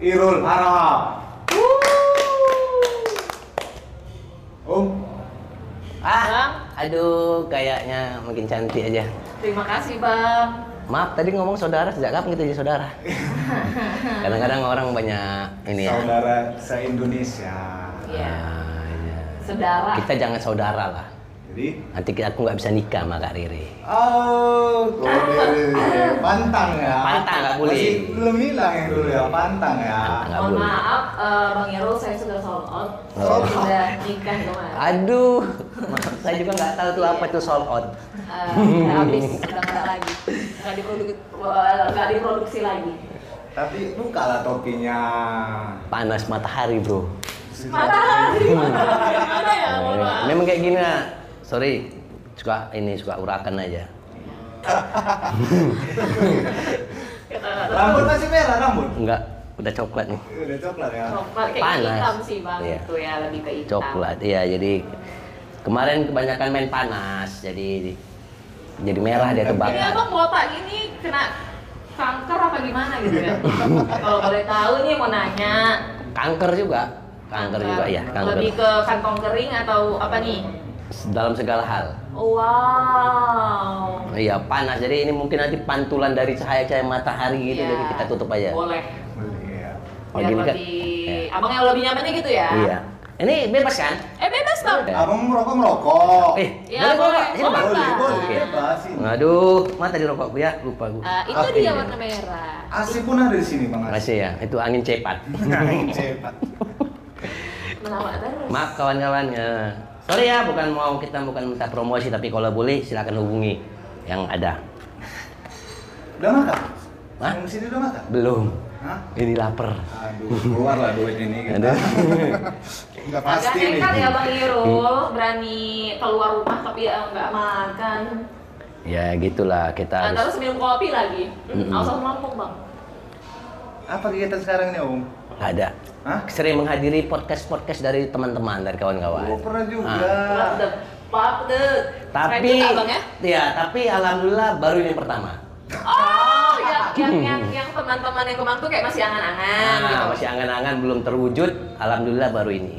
Irul Harahap. Om, Ah, aduh, kayaknya makin cantik aja. Terima kasih bang. Maaf, tadi ngomong saudara sejak kapan kita jadi saudara? Kadang-kadang orang banyak ini ya. saudara se-Indonesia. Iya. Ah, iya. Saudara. Kita jangan saudara lah. Jadi, Nanti aku nggak bisa nikah sama Kak Riri. Oh, kode pantang ya. Pantang, nggak boleh. Iya. Masih belum hilang yang dulu ya, pantang ya. Pantang. Nggak Ah, Mohon boleh. maaf eh, bang Irul, saya sudah sold out. Saya Oh. sudah nikah kemarin. Aduh, maaf, saya juga nggak tahu tuh apa tuh sold out. Eh, udah habis, udah nggak ada lagi. Nggak diproduksi, eh, nggak diproduksi lagi. Tapi buka lah topinya. Panas matahari bro. Matahari, matahari mana ya? Mohon maaf. Memang kayak gini lah. Sorry, suka ini suka urakan aja. Kita nggak tahu. Rambut masih merah rambut. Enggak, udah coklat nih. Udah coklat ya. Coklat kayak Panas. hitam sih bang, Iya. itu ya lebih ke hitam. Coklat, iya jadi kemarin kebanyakan main panas, jadi jadi merah dia Ini terbakar. abang botak ini kena kanker apa gimana gitu ya? Kalau boleh tahu nih mau nanya. Kanker juga, kanker juga ya, kanker Lebih ke kantong kering atau apa nih? dalam segala hal. Wow. Iya panas, jadi ini mungkin nanti pantulan dari cahaya-cahaya matahari gitu, Ya, jadi kita tutup aja. Boleh. Iya. Oh, Biar gini kan? lebih, Iya. abang yang lebih nyamannya gitu ya? Iya, ini bebas kan? Eh bebas bang. Iya. Abang merokok merokok. Eh, Iya, boleh bawa, boleh, sini boleh, Pak. boleh, Bang. boleh. Oke. Bebas ini. Aduh, mana tadi rokokku ya? Lupa gue. Eh, itu Oke. dia warna merah. Asih pun ada di sini bang Asih. Masih ya, itu angin cepat. Cepat. Menawar terus. Maaf kawan-kawan, ya. sorry ya, bukan mau kita bukan minta promosi, tapi kalau boleh silakan hubungi yang ada. Udah makan? Hah? Yang sini udah makan? Belum, Hah? ini lapar. Aduh, keluar lah duit ini. kita. Aduh. Nggak Agak pasti nih. nekat ya Bang Irul, Hmm. berani keluar rumah tapi eh, nggak makan. Ya gitulah Nah, kita terus harus. minum kopi lagi. Hmm, Mm-mm. Langsung mabuk Bang. Apa kegiatan sekarang nih om? Nggak ada. Hah? Sering menghadiri podcast-podcast dari teman-teman dari Oh, kawan-kawan. pernah juga. Ah. What the fuck the Tapi, Keren juga, Bang ya? ya tapi alhamdulillah baru ini yang pertama. Ah. Oh, yang yang yang, yang teman-teman yang kemarin tuh kayak masih angan-angan Nah, gitu. masih angan-angan belum terwujud, alhamdulillah baru ini.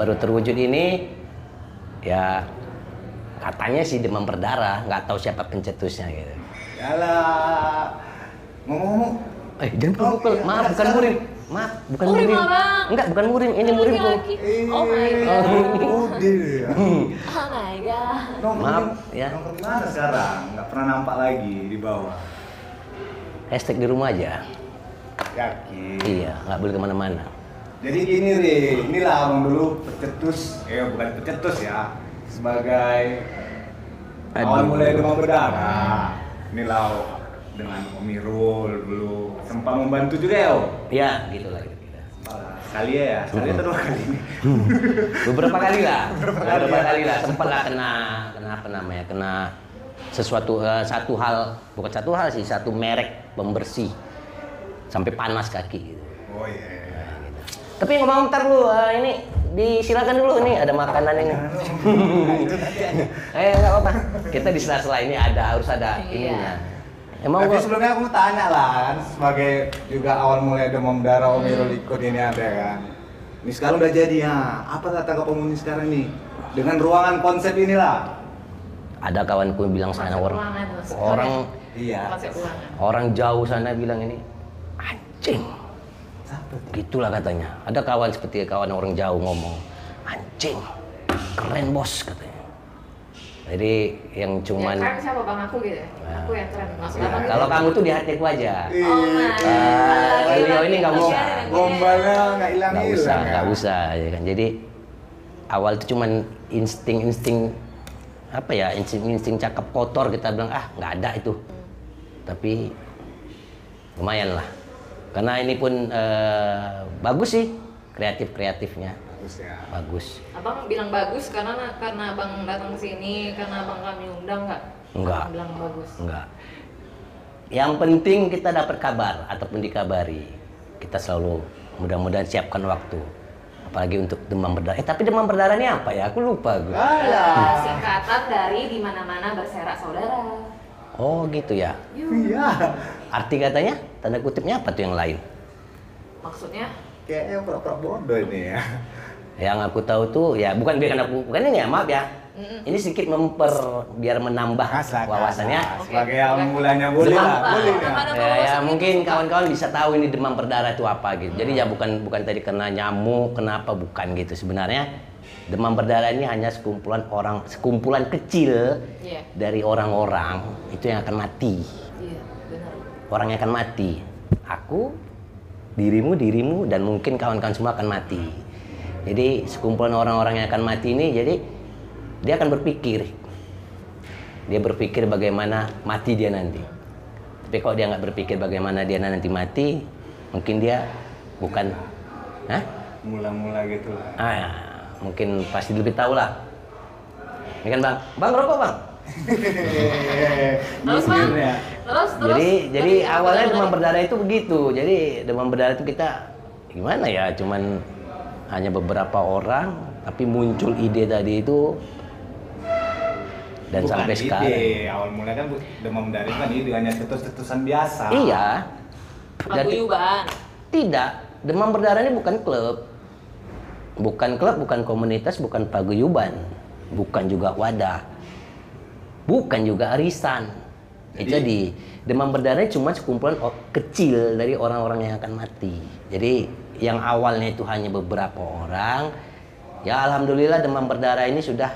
Baru terwujud ini, ya katanya sih demam berdarah, nggak tahu siapa pencetusnya gitu. Yalah. Ngomong-ngomong, Eh, jangan Oh, iya, pukul, maaf iya, bukan sorry. murim, maaf bukan Murim, murim, Abang. enggak bukan murim, ini Iya. murim bu. Lagi-lagi. Iya, Oh my eh, god. Oh, dear. Oh my god. Nongkrong- Maaf, ya. Nongkrong di mana sekarang? Nggak pernah nampak lagi di bawah. Hashtag di rumah aja, Yakin. iya nggak boleh kemana-mana. Jadi gini, Ri. Inilah abang dulu pecetus. Eh, bukan pecetus ya. Sebagai awal Aduh. mulai demam berdarah. Inilah dengan Om Irul dulu. Sempat membantu juga ya, Om? Ya gitulah gitu. kita. Sekali ya, sekali atau dua kali ini. Beberapa kali lah, kali beberapa ya. kali lah, sempat lah kena, kena apa namanya, kena sesuatu eh, satu hal bukan satu hal sih satu merek pembersih sampai panas kaki gitu. Oh iya. Tapi ngomong ntar lu eh, ini disilakan dulu nih ada makanan ini. Eh nggak apa-apa. Kita di sela-sela ini ada harus ada Iya. ininya. Emang Tapi gua sebelumnya aku mau tanya lah kan, sebagai juga awal mulai demam darah Om Irul ikut ini ada kan. Ini sekarang udah jadi ya. Apa kata pemuni sekarang nih? Dengan ruangan konsep inilah. ada kawanku yang bilang sana Konsep orang ruangan, Mas. orang Iya. Konsep ulangan. orang jauh sana bilang ini anjing. Siapa? Gitulah katanya. Ada kawan seperti kawan orang jauh ngomong anjing keren bos katanya. Jadi yang Yang cuman Nah. ya, Iya. keren siapa Bang aku gitu ya? Aku yang keren. Maksud Abang gitu. kalau kamu tuh di hatiku aja. Ih, Oh my God. beliau Iya. ini nggak Kasihan usah. ya, Bang. Gombalnya nggak hilang nggak hilang. usah nggak "Ah." usah ya kan jadi awal itu cuman insting insting apa ya insting insting cakep kotor kita bilang ah nggak ada itu tapi lumayan lah karena ini pun eh, bagus sih kreatif kreatifnya Bagus ya. bagus Abang bilang bagus karena karena abang datang ke sini karena abang kami undang nggak? Nggak. Abang Bilang bagus. enggak yang penting kita dapat kabar ataupun dikabari kita selalu mudah-mudahan siapkan waktu apalagi untuk demam berdarah eh tapi demam berdarah ini apa ya aku lupa gue Eh, Alah. singkatan dari di mana-mana berserak saudara. Oh gitu ya. Iya. Arti katanya, tanda kutipnya apa tuh yang lain? Maksudnya? Kayaknya pura-pura bodoh ini ya. Yang aku tahu tuh ya bukan biar aku bukan ini ya maaf ya. Mm-mm. Ini sedikit memper biar menambah Masa wawasannya. Nah, sebagai yang mulanya boleh Demam, lah, Pak. boleh ya. Karena Ya, ya, wawasan mungkin itu, Pak. kawan-kawan bisa tahu ini demam berdarah itu apa gitu. Jadi ya bukan bukan tadi kena nyamuk, kenapa bukan gitu. Sebenarnya demam berdarah ini hanya sekumpulan orang sekumpulan kecil Iya. dari orang-orang itu yang akan mati. Iya, benar. Orang yang akan mati. Aku, dirimu, dirimu dan mungkin kawan-kawan semua akan mati. Jadi sekumpulan orang-orang yang akan mati ini jadi dia akan berpikir. Dia berpikir bagaimana mati dia nanti. Tapi kalau dia nggak berpikir bagaimana dia nanti mati, mungkin dia bukan Hah? Mula-mula gitu lah. Ah, ya, mungkin pasti lebih tahu lah. Ini kan Bang. Bang rokok, Bang. Terus, Bang? Mikir ya. Terus, terus. jadi jadi Tadi apa awalnya tadi? demam berdarah itu begitu jadi demam berdarah itu kita gimana ya cuman hanya beberapa orang tapi muncul ide tadi itu dan Bukan sampai ide, sekarang Awal mulanya kan bu- demam dari kan itu hanya cetus-cetusan biasa. iya Jadi- Paguyuban. tidak demam berdarah ini bukan klub bukan klub bukan komunitas bukan paguyuban bukan juga wadah bukan juga arisan jadi, Jadi- jadi demam berdarah ini cuma sekumpulan o- kecil dari orang-orang yang akan mati jadi yang awalnya itu hanya beberapa orang ya alhamdulillah demam berdarah ini sudah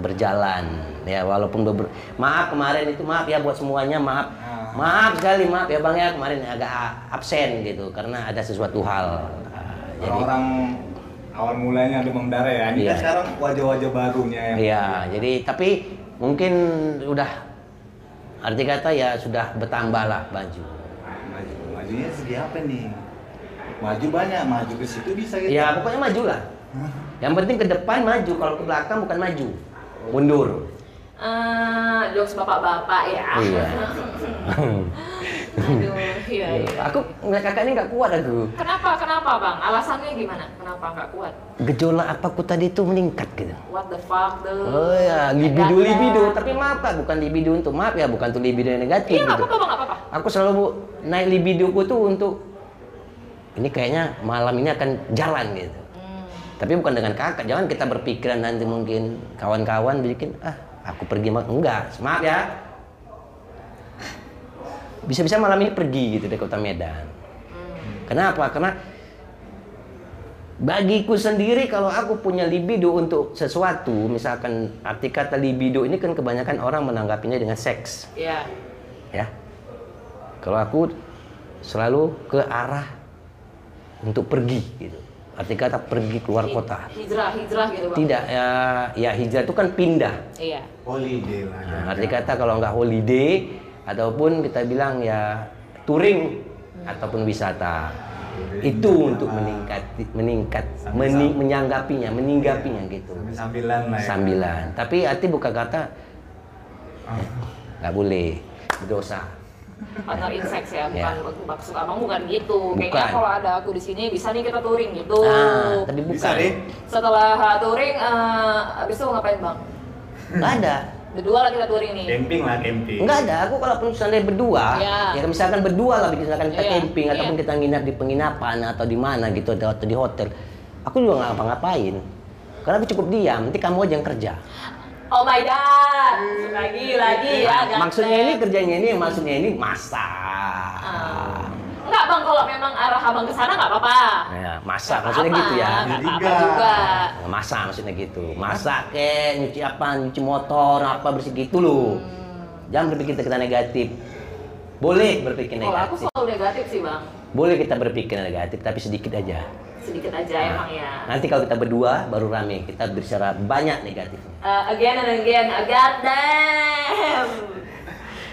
berjalan ya walaupun beber maaf kemarin itu maaf ya buat semuanya maaf Ah. maaf sekali maaf ya bang ya kemarin agak a- absen gitu karena ada sesuatu hal Ah, jadi Orang-orang awal mulanya demam darah ya. Ini Iya. kan sekarang wajah-wajah barunya yang Iya, jadi tapi mungkin udah arti kata ya sudah bertambah lah baju. maju. Majunya segi apa nih? Maju banyak, maju ke situ bisa gitu. Ya pokoknya maju lah. Yang penting ke depan maju, kalau ke belakang bukan maju, mundur. Eh, jokes bapak-bapak ya. Iya. Aduh, iya, iya. Aku ngeliat kakak ini nggak kuat aku. Kenapa, kenapa bang? Alasannya gimana? Kenapa nggak kuat? Gejolak apaku tadi itu meningkat gitu. What the fuck the? Oh ya, libido libido. Tapi maaf kak, bukan libido untuk maaf ya, bukan tuh libido yang negatif Iya nggak gitu. apa-apa bang, nggak apa-apa. Aku selalu naik libidoku tuh untuk ini kayaknya malam ini akan jalan gitu. Hmm. tapi bukan dengan kakak jangan kita berpikiran nanti mungkin kawan-kawan bikin ah aku pergi ma-" enggak smart ya bisa-bisa malam ini pergi gitu dari kota Medan kenapa karena bagiku sendiri kalau aku punya libido untuk sesuatu misalkan arti kata libido ini kan kebanyakan orang menanggapinya dengan seks Iya. ya kalau aku selalu ke arah untuk pergi gitu arti kata pergi keluar kota Hijrah, hijrah gitu bang. tidak ya, ya hijrah itu kan pindah. Iya. Holiday lah. ya. Nah, arti kata kalau nggak holiday ataupun kita bilang ya touring ataupun wisata. Ah. Itu untuk meningkat meningkat meni- menyanggapinya, meninggapinya gitu. Sambilan lah ya. Sambilan. Tapi arti bukan kata Ah. nggak boleh berdosa. Partner in sex ya, Iya. bukan maksud abang bukan gitu. Kayaknya Bukan. kalau ada aku di sini bisa nih kita touring gitu. Nah, tapi bukan. Bisa deh. Setelah uh, touring, eh, abis itu ngapain bang? Nggak ada. Berdua lah kita touring nih. Camping lah, camping. Enggak ada, aku kalaupun seandainya berdua, Iya. ya misalkan berdua lah, misalkan kita Iya, camping iya. ataupun kita nginap di penginapan atau di mana gitu atau atau di hotel, aku juga nggak ngapa-ngapain. Karena aku cukup diam, nanti kamu aja yang kerja. Oh my god, lagi lagi ya. ganteng. Iya, Nah, maksudnya ini kerjanya ini, maksudnya ini masak. Ah. Enggak bang, kalau memang arah abang ke sana nggak apa-apa. Ya, masak Nggak maksudnya apa-apa, gitu ya. nggak Jadi apa-apa nggak. juga. Nah, Masak maksudnya gitu. Masak kek, nyuci apa, nyuci motor, apa bersih gitu loh. Hmm. Jangan berpikir kita negatif. Boleh berpikir Kalau Oh, aku negatif. selalu negatif sih bang, Boleh kita berpikir negatif tapi sedikit aja. sedikit aja Ah. emang ya. Nanti kalau kita berdua baru rame, kita berbicara banyak negatifnya. Eh, again and again, uh, god damn.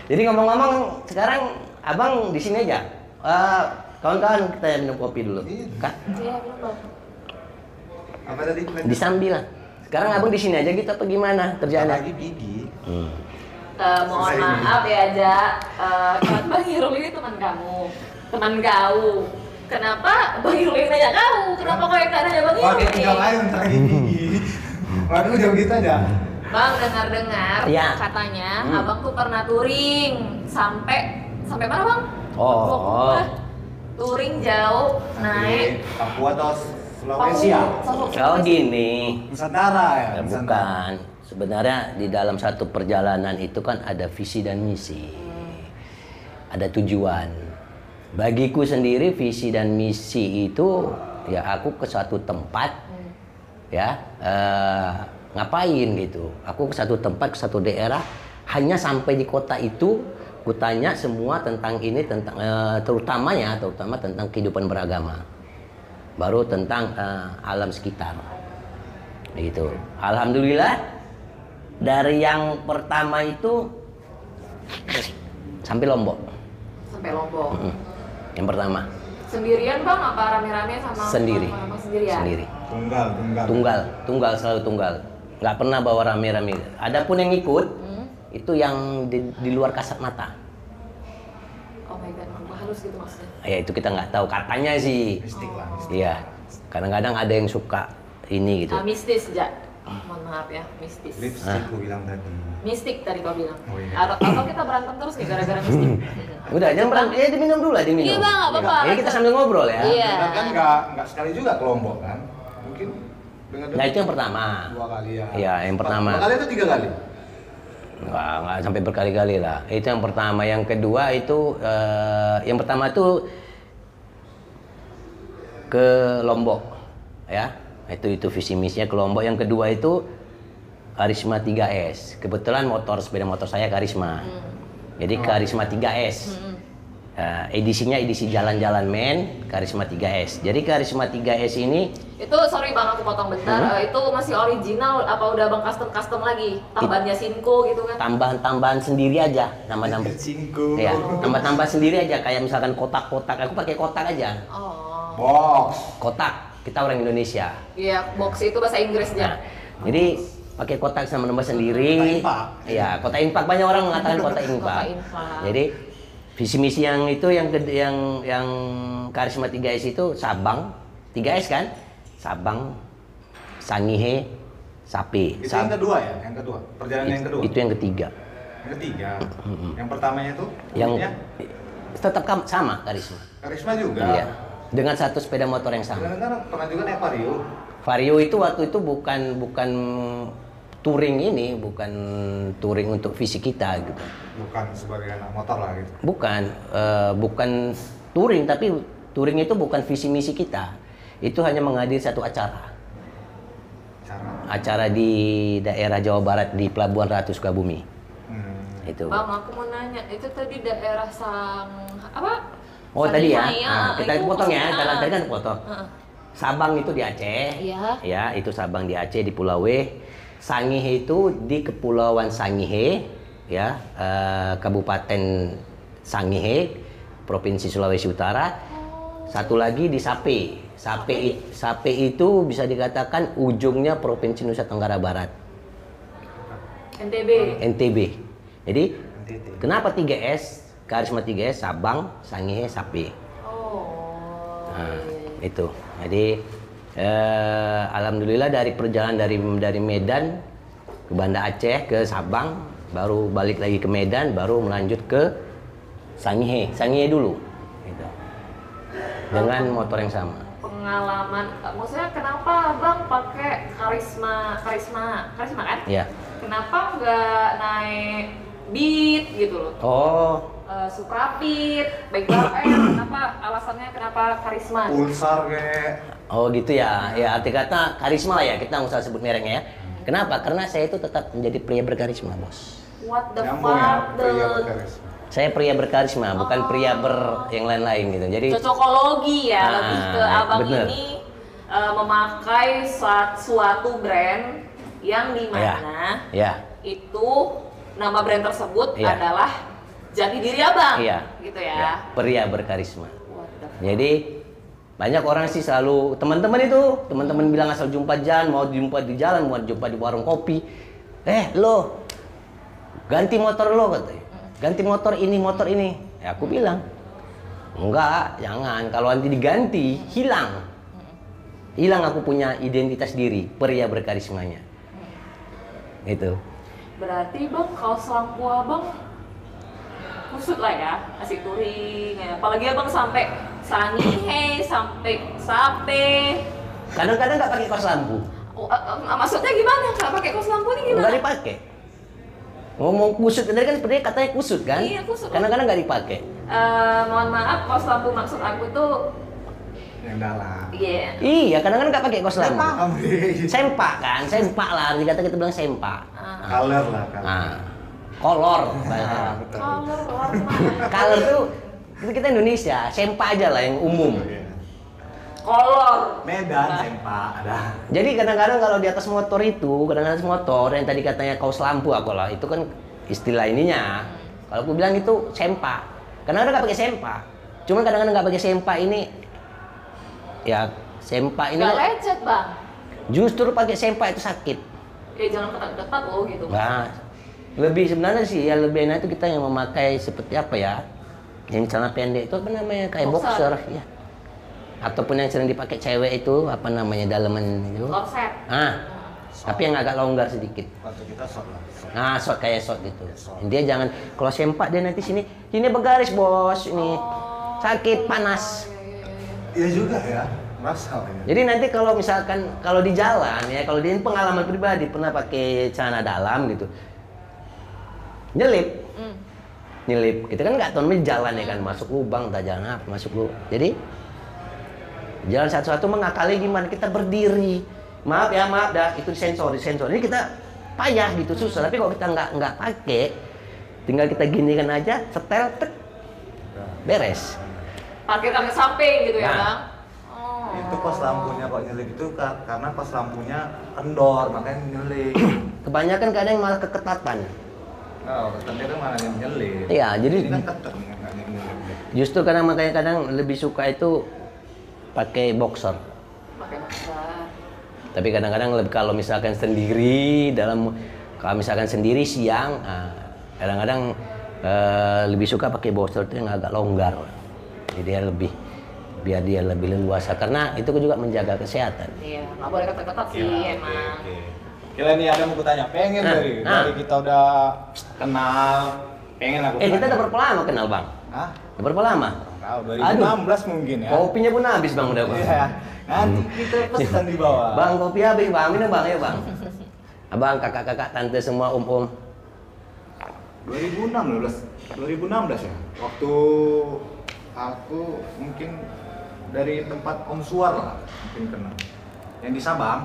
Jadi ngomong-ngomong, sekarang abang di sini aja. Eh, Kawan-kawan kita minum kopi dulu. Kak, Iya belum bang. Apa tadi? di sambilan. Sekarang abang di sini aja gitu apa gimana kerjaannya? Lagi gigi. Hmm. Eh, mohon Selesai ini. maaf ya Ja, Eh, kan Bang Irul ini teman kamu, teman gaul. Kenapa Bang Irul ini nanya kau? Kenapa kau yang nggak nanya Bang Irul? Pakai tinggal lain ntar lagi gigi. Waduh, jauh kita aja. Bang dengar-dengar Iya. katanya Hmm. abang tuh pernah touring sampai sampai mana bang? Oh, Bogor. oh. touring jauh naik Nanti Papua atau Iya. Sulawesi ya? Papua Kalau Oh, gini, Nusantara ya? Ya, Nusantara. bukan. Sebenarnya di dalam satu perjalanan itu kan ada visi dan misi. Ada tujuan. Bagiku sendiri visi dan misi itu ya aku ke suatu tempat ya eh, ngapain gitu. Aku ke satu tempat ke satu daerah hanya sampai di kota itu kutanya semua tentang ini tentang eh, terutamanya terutama tentang kehidupan beragama. Baru tentang eh, alam sekitar gitu alhamdulillah dari yang pertama itu sampai lombok sampai Lombok. Mm. yang pertama Sendirian bang apa rame-rame sama sendiri sama ya? sendirian? sendiri Tunggal, tunggal. tunggal tunggal selalu tunggal nggak pernah bawa rame-rame adapun yang ikut Hmm. itu yang di, di luar kasat mata Oh my god, Bang. halus gitu maksudnya. ya itu kita nggak tahu katanya sih Mistik lah. iya kadang-kadang ada yang suka ini gitu Ah, mistis sejak. Mohon maaf ya, Ah. mistis. Lipstick gue bilang tadi. Mistik tadi kau bilang. Oh, iya. Atau, atau kita berantem terus nih gara-gara mistik. udah jangan berantem ya diminum dulu lah diminum Iya bang, nggak apa-apa. ya kita sambil ngobrol ya Iya. Kita kan nggak nggak sekali juga ke Lombok kan? Mungkin dengan nah itu yang pertama dua kali ya. Iya, yang pertama. Dua kali atau tiga kali? Nggak, nggak sampai berkali-kali lah. Itu yang pertama. Yang kedua itu, eh, yang pertama itu ke Lombok, ya. Itu itu visi misinya ke Lombok. Yang kedua itu Karisma 3S. Kebetulan motor sepeda motor saya Karisma. Jadi Karisma 3S. Eh, edisinya edisi jalan-jalan men, Karisma 3S. Jadi Karisma 3S ini Itu sorry bang aku potong bentar. Hmm. Eh, itu masih original apa udah bang custom custom lagi? Tambahannya Sinko gitu kan? tambahan-tambahan sendiri aja nama-nama. Cingku. Ya, tambah-tambah sendiri aja kayak misalkan kotak-kotak. Aku pakai kotak aja. Oh. Box. Kotak. Kita orang Indonesia. Iya, box itu bahasa Nah, Inggrisnya. jadi pakai kotak sama nambah Kotak sendiri. impak. Iya, kotak impak banyak orang mengatakan kotak impak. Kotak impak. Jadi visi misi yang itu yang gede- yang yang karisma 3S itu Sabang, 3S kan? Sabang, Sangihe, Sapi. Itu Sab- yang kedua ya? Yang kedua. Perjalanan yang kedua. itu yang ketiga. Yang ketiga. Yang pertamanya itu? Yang maksudnya tetap kam- sama karisma. Karisma juga. Iya. Dengan satu sepeda motor yang sama. Kadang-kadang pernah juga naik Vario. Vario itu waktu itu bukan bukan touring ini, bukan touring untuk visi kita gitu. Bukan sebagai anak motor lah gitu. Bukan eh, bukan touring tapi touring itu bukan visi misi kita. Itu hanya menghadiri satu acara. Cara. Acara di daerah Jawa Barat di Pelabuhan Ratu Sukabumi. Hmm. Itu. Bang, aku mau nanya, itu tadi daerah Sang apa? Oh tadi ya, Sangihe, Ah, kita itu potong ya, maksudnya. jalan tadi kan potong. Heeh. Sabang itu di Aceh, Iya. ya itu Sabang di Aceh di Pulau W. Sangihe itu di Kepulauan Sangihe, ya eh, Kabupaten Sangihe, Provinsi Sulawesi Utara. Oh. Satu lagi di Sape. Sape, i- Sape itu bisa dikatakan ujungnya Provinsi Nusa Tenggara Barat, NTB. NTB. Jadi NTT. kenapa 3S? Karisma 3S Sabang, Sangihe, Sape. Oh. Nah, itu. Jadi eh, alhamdulillah dari perjalanan dari dari Medan ke Banda Aceh ke Sabang, baru balik lagi ke Medan, baru melanjut ke Sangihe, Sangihe dulu. Gitu. Dengan motor yang sama. Pengalaman, eh, maksudnya kenapa Bang pakai karisma, karisma, karisma kan? Ya. Kenapa nggak naik beat gitu loh? Oh, Eh, Suprapit, baik banget. kenapa alasannya kenapa karisma? Pulsar kayak. oh gitu ya. Ya arti kata karisma lah ya. Kita nggak usah sebut mereknya ya. Kenapa? Karena saya itu tetap menjadi pria berkarisma, bos. What the Nyambung ya. fuck? Iya, the- Karisma. Saya pria berkarisma, bukan pria ber yang lain-lain gitu. Jadi cocokologi ya Ah, lebih ke abang bener. ini eh, memakai suat- suatu brand yang Iya. di mana ya. itu nama brand tersebut Iya. adalah jadi diri abang Iya. gitu Ya, ya, pria berkarisma. What the f- Jadi banyak orang sih selalu teman-teman itu, teman-teman bilang asal jumpa jalan, mau jumpa di jalan, mau jumpa di warung kopi. Eh, lo ganti motor lo katanya. Ganti motor ini, motor ini. Ya aku bilang, enggak, jangan. Kalau nanti diganti, hilang. Hilang aku punya identitas diri, pria berkarismanya. Gitu. Itu. berarti bang kaos lampu abang kusut lah ya asik touring ya. apalagi abang sampai sangihe sampai sape. Kadang-kadang nggak pakai kaos lampu, Oh, eh, eh, maksudnya gimana? Nggak pakai kos lampu ini gimana? nggak dipakai. Ngomong kusut, tadi kan sebenarnya katanya kusut kan? Iya, kusut. Kadang-kadang nggak dipakai. Eh, mohon maaf, kos lampu maksud aku tuh, yang dalam iya. Iya, kadang-kadang nggak pakai kaos lampu. paham deh Sempak kan, sempak lah. Dikata kita bilang sempak. Ah. color lah color Nah, kolor. Nah, bahasa. betul. Color, color kemana? Color tuh itu kita Indonesia, sempak aja lah yang umum. ya, Iya. Color. Medan Nah. sempak ada Jadi kadang-kadang kalau di atas motor itu, kadang-kadang atas motor yang tadi katanya kaos lampu aku lah, itu kan istilah ininya. Kalau aku bilang itu sempak. Kadang-kadang nggak pakai sempak. Cuman kadang-kadang nggak pakai sempak ini, ya sempak ini Nggak lecet, Bang. justru pakai sempak itu sakit. Ya jangan ketat-ketat loh gitu. Nah, lebih sebenarnya sih ya lebih enak itu kita yang memakai seperti apa ya? Yang celana pendek itu apa namanya? Kayak boxer, Boxer. ya. Ataupun yang sering dipakai cewek itu apa namanya? Daleman itu. Korset. Ah, tapi yang agak longgar sedikit. waktu kita short lah short. Nah, short kayak short gitu. Kayak short. Dia jangan kalau sempak dia nanti sini, ini bergaris bos, ini Oh. sakit panas. Iya, iya, iya, iya. iya juga ya masal ya Jadi nanti kalau misalkan kalau di jalan ya, kalau di ini pengalaman pribadi pernah pakai celana dalam gitu, nyelip, Hmm. nyelip. Kita kan nggak tahu namanya jalan ya kan, masuk lubang, tak jalan apa, masuk lubang. Jadi jalan satu-satu mengakali gimana kita berdiri. Maaf ya, maaf dah, itu sensor, sensor. Ini kita payah gitu, susah. Tapi kalau kita nggak nggak pakai, tinggal kita ginikan aja, setel, tek, beres. Parkir ke samping gitu ya, Nah. Bang. Oh. Nah, itu kos lampunya kok nyelip itu ka- karena kos lampunya kendor makanya nyelip Kebanyakan kadang malah keketatan. oh ketennya kan malah yang nyelip Iya, jadi- ini kan ketet nih, nggak yang nyelip Justru kadang makanya kadang lebih suka itu pakai boxer. Pakai masker. Tapi kadang-kadang lebih kalau misalkan sendiri dalam kalau misalkan sendiri siang, ah, kadang-kadang eh, lebih suka pakai boxer itu yang agak longgar. Jadi dia lebih biar dia lebih leluasa karena itu juga menjaga kesehatan. Iya, nggak boleh ketat-ketat sih Iya, oke, emang. oke. Kira nih ada mau tanya, pengen Nah, dari nah. dari kita udah kenal, pengen aku. Eh kita tanya. udah berapa lama kenal bang? Hah? Udah berapa lama? Tahu Aduh, 2016 mungkin ya. kopinya pun habis bang udah bang. Iya. Nanti kita pesan di bawah. Bang kopi habis bang, minum bang ya bang. Abang, kakak-kakak, tante semua, om-om. 2016 2016 ya waktu aku mungkin dari tempat Om Suar lah mungkin kenal yang di Sabang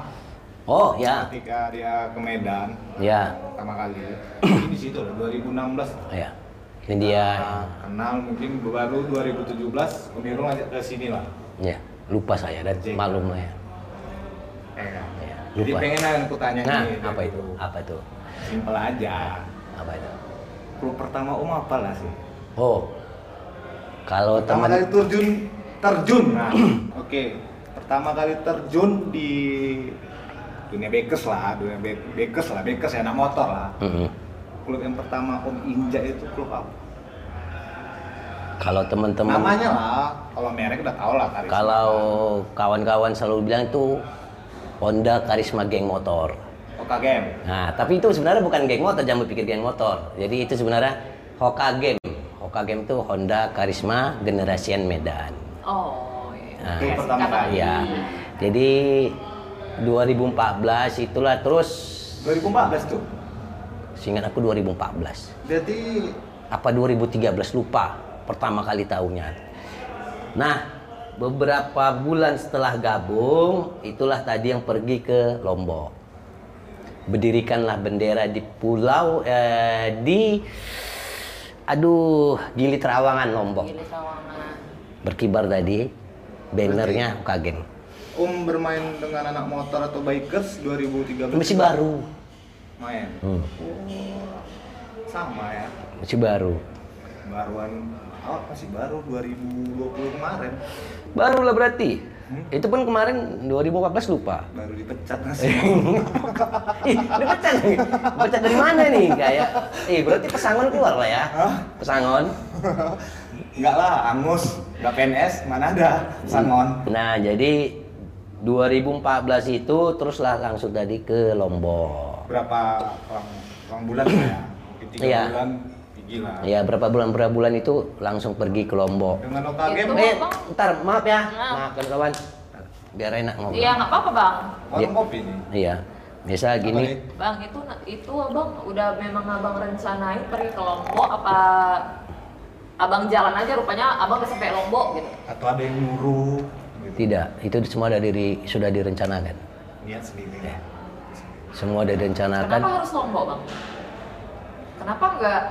Oh ya, ketika dia ke Medan ya, pertama kali Mungkin di situ lah 2016 ya. Ini dia. Nah, kenal mungkin baru 2017 Om Irul ngajak ke sini lah Ya, lupa saya dan Jeng. maklum lah ya. Eh, kan? Ya, jadi lupa. pengen lah yang aku tanya Nah, nih, apa dari itu? Apa itu? simpel aja Apa itu? klub pertama Om apa lah sih Oh. Kalau pertama kali teman terjun terjun nah oke pertama kali terjun di dunia bekes lah dunia be- bekes lah bekes ya anak motor lah Mm-mm. klub yang pertama om injak itu klub apa Kalau teman-teman namanya lah kalau merek udah tau lah karisma kalau kawan-kawan selalu bilang itu Honda Karisma geng motor. OKGM Nah, tapi itu sebenarnya bukan geng motor, jangan berpikir geng motor. Jadi itu sebenarnya Hoka Game. Hoka Game itu Honda Karisma Generasian Medan. Oh, iya. Nah, Itu Kayak pertama sikat kali. lagi. Iya. Jadi 2014 itulah terus 2014 tuh seingat aku 2014. jadi apa 2013 lupa pertama kali tahunnya. Nah, beberapa bulan setelah gabung, itulah tadi yang pergi ke Lombok. Berdirikanlah bendera di pulau eh, di aduh Gili Trawangan Lombok. Gili Trawangan. Berkibar tadi bannernya kagen. om bermain dengan anak motor atau bikers 2013 Masih baru. main Oh, Hmm, sama ya masih baru. baruan awal masih baru 2020 kemarin Barulah berarti. Hmm? Itu pun kemarin 2014 lupa. baru dipecat masih Ih, ini pecah nih. Pecah dari mana nih? Kayak, eh berarti pesangon keluar lah ya. Pesangon. Enggak lah, angus, enggak PNS, mana ada sangon. Nah, jadi 2014 itu teruslah langsung tadi ke Lombok. Berapa orang, orang bulan ya? Mungkin tiga Iya. bulan, tiga Gila. Ya berapa bulan berapa bulan itu langsung pergi ke Lombok. Dengan lokal game, oh, Itu. Iya. Eh, ntar maaf ya, Maaf. maafkan kawan. Biar enak ngobrol. Iya nggak apa-apa bang. warung kopi nih. Iya. Biasa Apa gini. nih? Bang itu itu abang udah memang abang rencanain pergi ke Lombok apa abang jalan aja rupanya abang udah sampai Lombok gitu. Atau ada yang nyuruh gitu. Tidak, itu semua dari diri- sudah direncanakan. Niat sendiri. Iya. Semua direncanakan. Kenapa harus Lombok bang? Kenapa nggak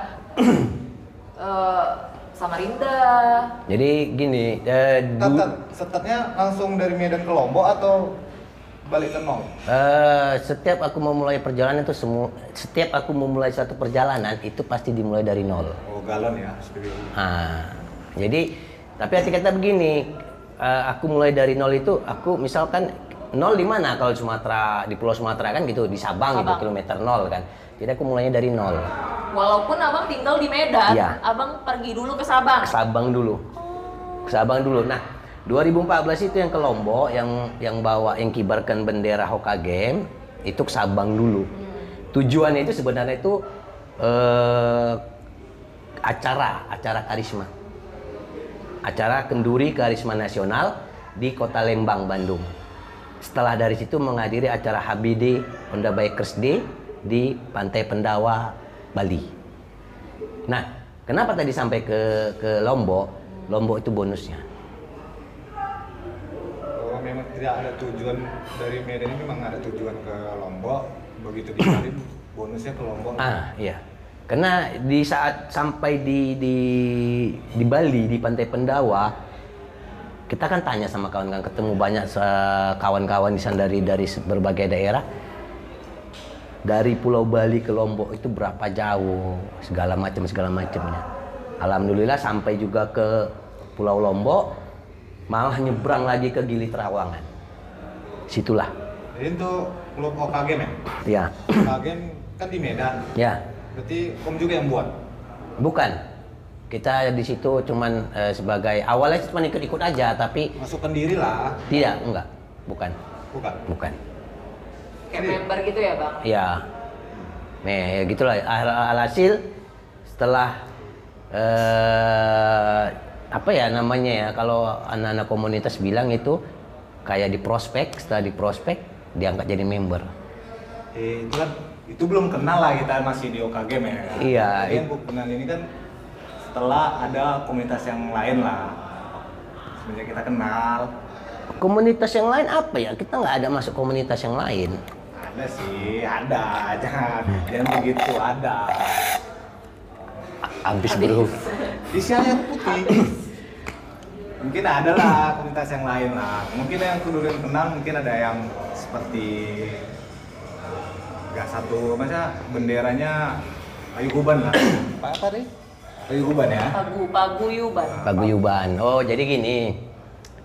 eh, Samarinda? Jadi gini, eh, du- Tetet, setetnya langsung dari Medan ke Lombok atau balik ke nol? eh, setiap aku memulai perjalanan itu semua setiap aku memulai satu perjalanan itu pasti dimulai dari nol. Oh galon ya, SPBU. Ah, jadi tapi arti kata begini, eh, aku mulai dari nol itu aku misalkan nol di mana kalau Sumatera di Pulau Sumatera kan gitu di Sabang, gitu Sabang. kilometer nol kan. Jadi aku mulainya dari nol Walaupun abang tinggal di Medan, Iya. abang pergi dulu ke Sabang. ke Sabang dulu, ke Sabang dulu. Nah 2014 itu yang ke Lombok yang yang bawa yang kibarkan bendera Hokage itu ke Sabang dulu. Tujuannya itu sebenarnya itu eh, acara acara karisma. acara kenduri karisma nasional di kota Lembang, Bandung. Setelah dari situ menghadiri acara HBD Honda Bikers Day di Pantai Pendawa, Bali. Nah, kenapa tadi sampai ke ke Lombok? Lombok itu bonusnya. Oh, memang tidak ada tujuan dari Medan ini memang ada tujuan ke Lombok. Begitu dikali bonusnya ke Lombok. Ah, iya. Karena di saat sampai di di di Bali di Pantai Pendawa, kita kan tanya sama kawan-kawan ketemu banyak eh, kawan-kawan di sana dari dari se- berbagai daerah. Dari Pulau Bali ke Lombok itu berapa jauh, segala macam segala macamnya. Alhamdulillah sampai juga ke Pulau Lombok, malah nyebrang lagi ke Gili Trawangan. Situlah, Jadi untuk klub OKG men, ya, OKG kan di Medan. ya. Berarti Om juga yang buat. Bukan. Kita di situ cuman eh, sebagai awalnya cuma ikut-ikut aja, tapi Masukkan diri lah, tidak, enggak. Bukan, bukan. bukan. Kayak member gitu ya bang? Ya. Nih, ya gitulah Al- alhasil setelah eh apa ya namanya ya kalau anak-anak komunitas bilang itu kayak di prospek, setelah di prospek diangkat jadi member. Eh, itu kan itu belum kenal lah kita masih di OKG men. ya kan? Iya, Jadi yang gue kenal ini kan setelah ada komunitas yang lain lah. Semenjak kita kenal, Komunitas yang lain apa ya? Kita nggak ada masuk komunitas yang lain. ada sih, ada, jangan, jangan begitu, ada. Habis bro. Di siang putih. Mungkin ada lah komunitas yang lain lah. Mungkin yang kudurin kenal, mungkin ada yang seperti eh, nggak satu, masa benderanya paguyuban lah. Apa, apa deh? Paguyuban ya. Pagu paguyuban. Paguyuban. Oh, jadi gini.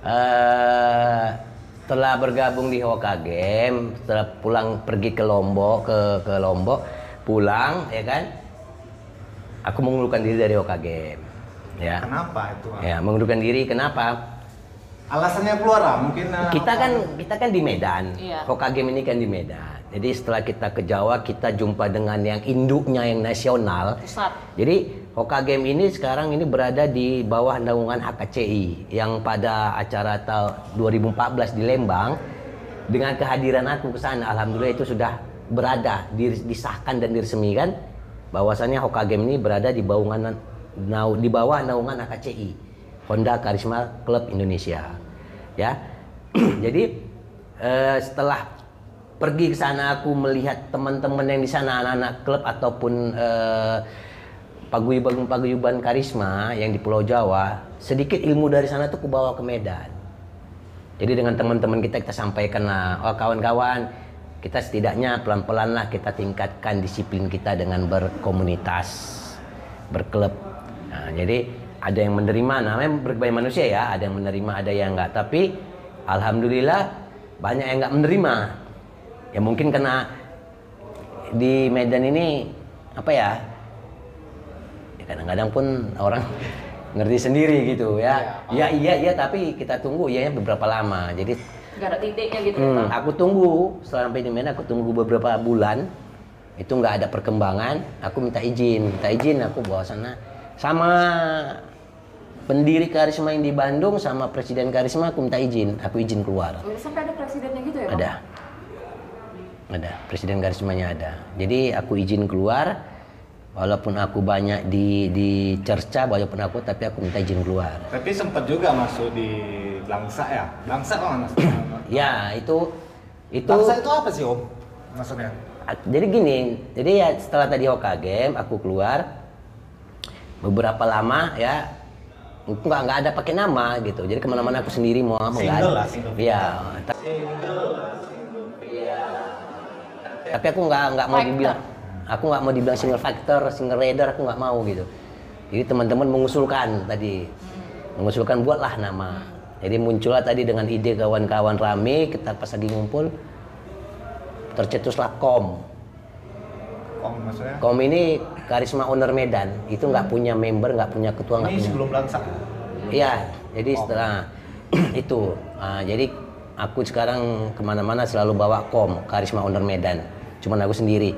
eh setelah bergabung di Hokage, setelah pulang pergi ke Lombok, ke ke Lombok, pulang ya kan? Aku mengundurkan diri dari Hokage. Ya. Kenapa itu? Ya, mengundurkan diri kenapa? Alasannya keluar lah, mungkin. eh, Kita kan kita kan di Medan. Iya. Hokage ini kan di Medan. Jadi setelah kita ke Jawa, kita jumpa dengan yang induknya yang nasional. Pusat. Jadi Hokagem ini sekarang ini berada di bawah naungan HKCI yang pada acara tahun 2014 di Lembang dengan kehadiran aku ke sana alhamdulillah itu sudah berada di- disahkan dan diresmikan bahwasannya Hokagem ini berada di baungan nau- di bawah naungan HKCI Honda Karisma Club Indonesia ya jadi eh, setelah pergi ke sana aku melihat teman-teman yang di sana anak-anak klub ataupun eh, paguyuban-paguyuban karisma yang di Pulau Jawa sedikit ilmu dari sana tuh aku bawa ke Medan jadi dengan teman-teman kita kita sampaikan lah oh kawan-kawan kita setidaknya pelan-pelan lah kita tingkatkan disiplin kita dengan berkomunitas berklub nah, jadi ada yang menerima namanya berbagai manusia ya ada yang menerima ada yang enggak tapi alhamdulillah banyak yang enggak menerima ya mungkin karena di Medan ini apa ya ya kadang-kadang pun orang ngerti sendiri gitu ya ya iya iya tapi kita tunggu ya beberapa lama jadi Gak ada titiknya gitu ya Hmm, bang? aku tunggu setelah sampai di Medan aku tunggu beberapa bulan itu nggak ada perkembangan aku minta izin minta izin aku bawa sana sama pendiri karisma yang di Bandung sama presiden karisma aku minta izin aku izin keluar Oh, iya, Sampai ada presidennya gitu ya? Bang? ada. Ada. Presiden Karismanya ada. Jadi aku izin keluar walaupun aku banyak di dicerca walaupun aku tapi aku minta izin keluar. Tapi sempat juga masuk di Blangsa ya? Blangsa kok nggak masuk? Ya, itu itu Blangsa itu apa sih om? Maksudnya? jadi gini, jadi ya setelah tadi Hokage aku keluar beberapa lama ya nggak nggak ada pakai nama gitu jadi kemana-mana aku sendiri mau mau nggak Single ada. lah, single. Iya, ta- tapi aku nggak nggak mau Factor. dibilang aku nggak mau dibilang single factor single rider aku nggak mau gitu jadi teman-teman mengusulkan tadi mengusulkan buatlah nama jadi muncullah tadi dengan ide kawan-kawan rame kita pas lagi ngumpul tercetuslah kom Om maksudnya? kom ini karisma owner Medan itu nggak punya member nggak punya ketua nggak Ini punya sebelum Blangsa? Iya, jadi setelah itu, ah, jadi aku sekarang kemana-mana selalu bawa kom, Karisma Owner Medan. Cuman aku sendiri.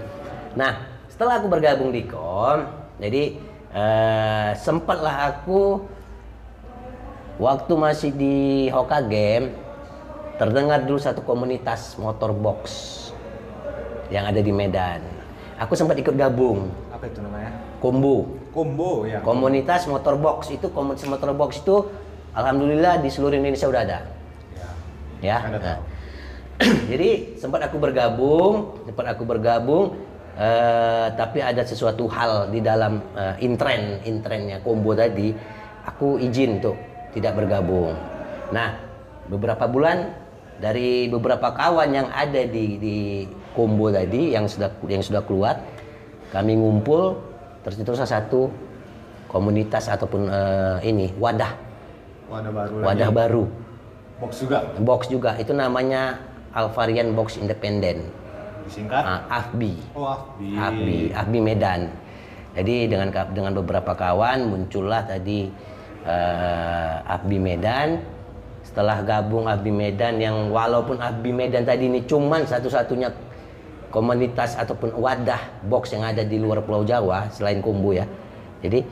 Nah, setelah aku bergabung di kom, jadi eh, sempatlah aku waktu masih di Hoka Game terdengar dulu satu komunitas motor box yang ada di Medan. Aku sempat ikut gabung, Apa itu namanya? kombu. Kombo ya? Komunitas motor box itu komunitas motor box itu alhamdulillah di seluruh Indonesia udah ada. Ya. Ya. Ada Nah. tahu. Jadi sempat aku bergabung, sempat aku bergabung eh, tapi ada sesuatu hal di dalam eh, intren, intrennya combo tadi aku izin untuk tidak bergabung. Nah, beberapa bulan dari beberapa kawan yang ada di di combo tadi yang sudah yang sudah keluar kami ngumpul terus terusnya satu komunitas ataupun eh, ini wadah Wadah baru wadah lagi. baru Box juga? box juga itu namanya Alvarian Box Independen Disingkat? Ah, AFBI Oh, Afbi. AFBI AFBI Medan jadi dengan ka- dengan beberapa kawan muncullah tadi eh, AFBI Medan setelah gabung AFBI Medan yang walaupun AFBI Medan tadi ini cuman satu-satunya komunitas ataupun wadah box yang ada di luar Pulau Jawa selain Kumbu ya jadi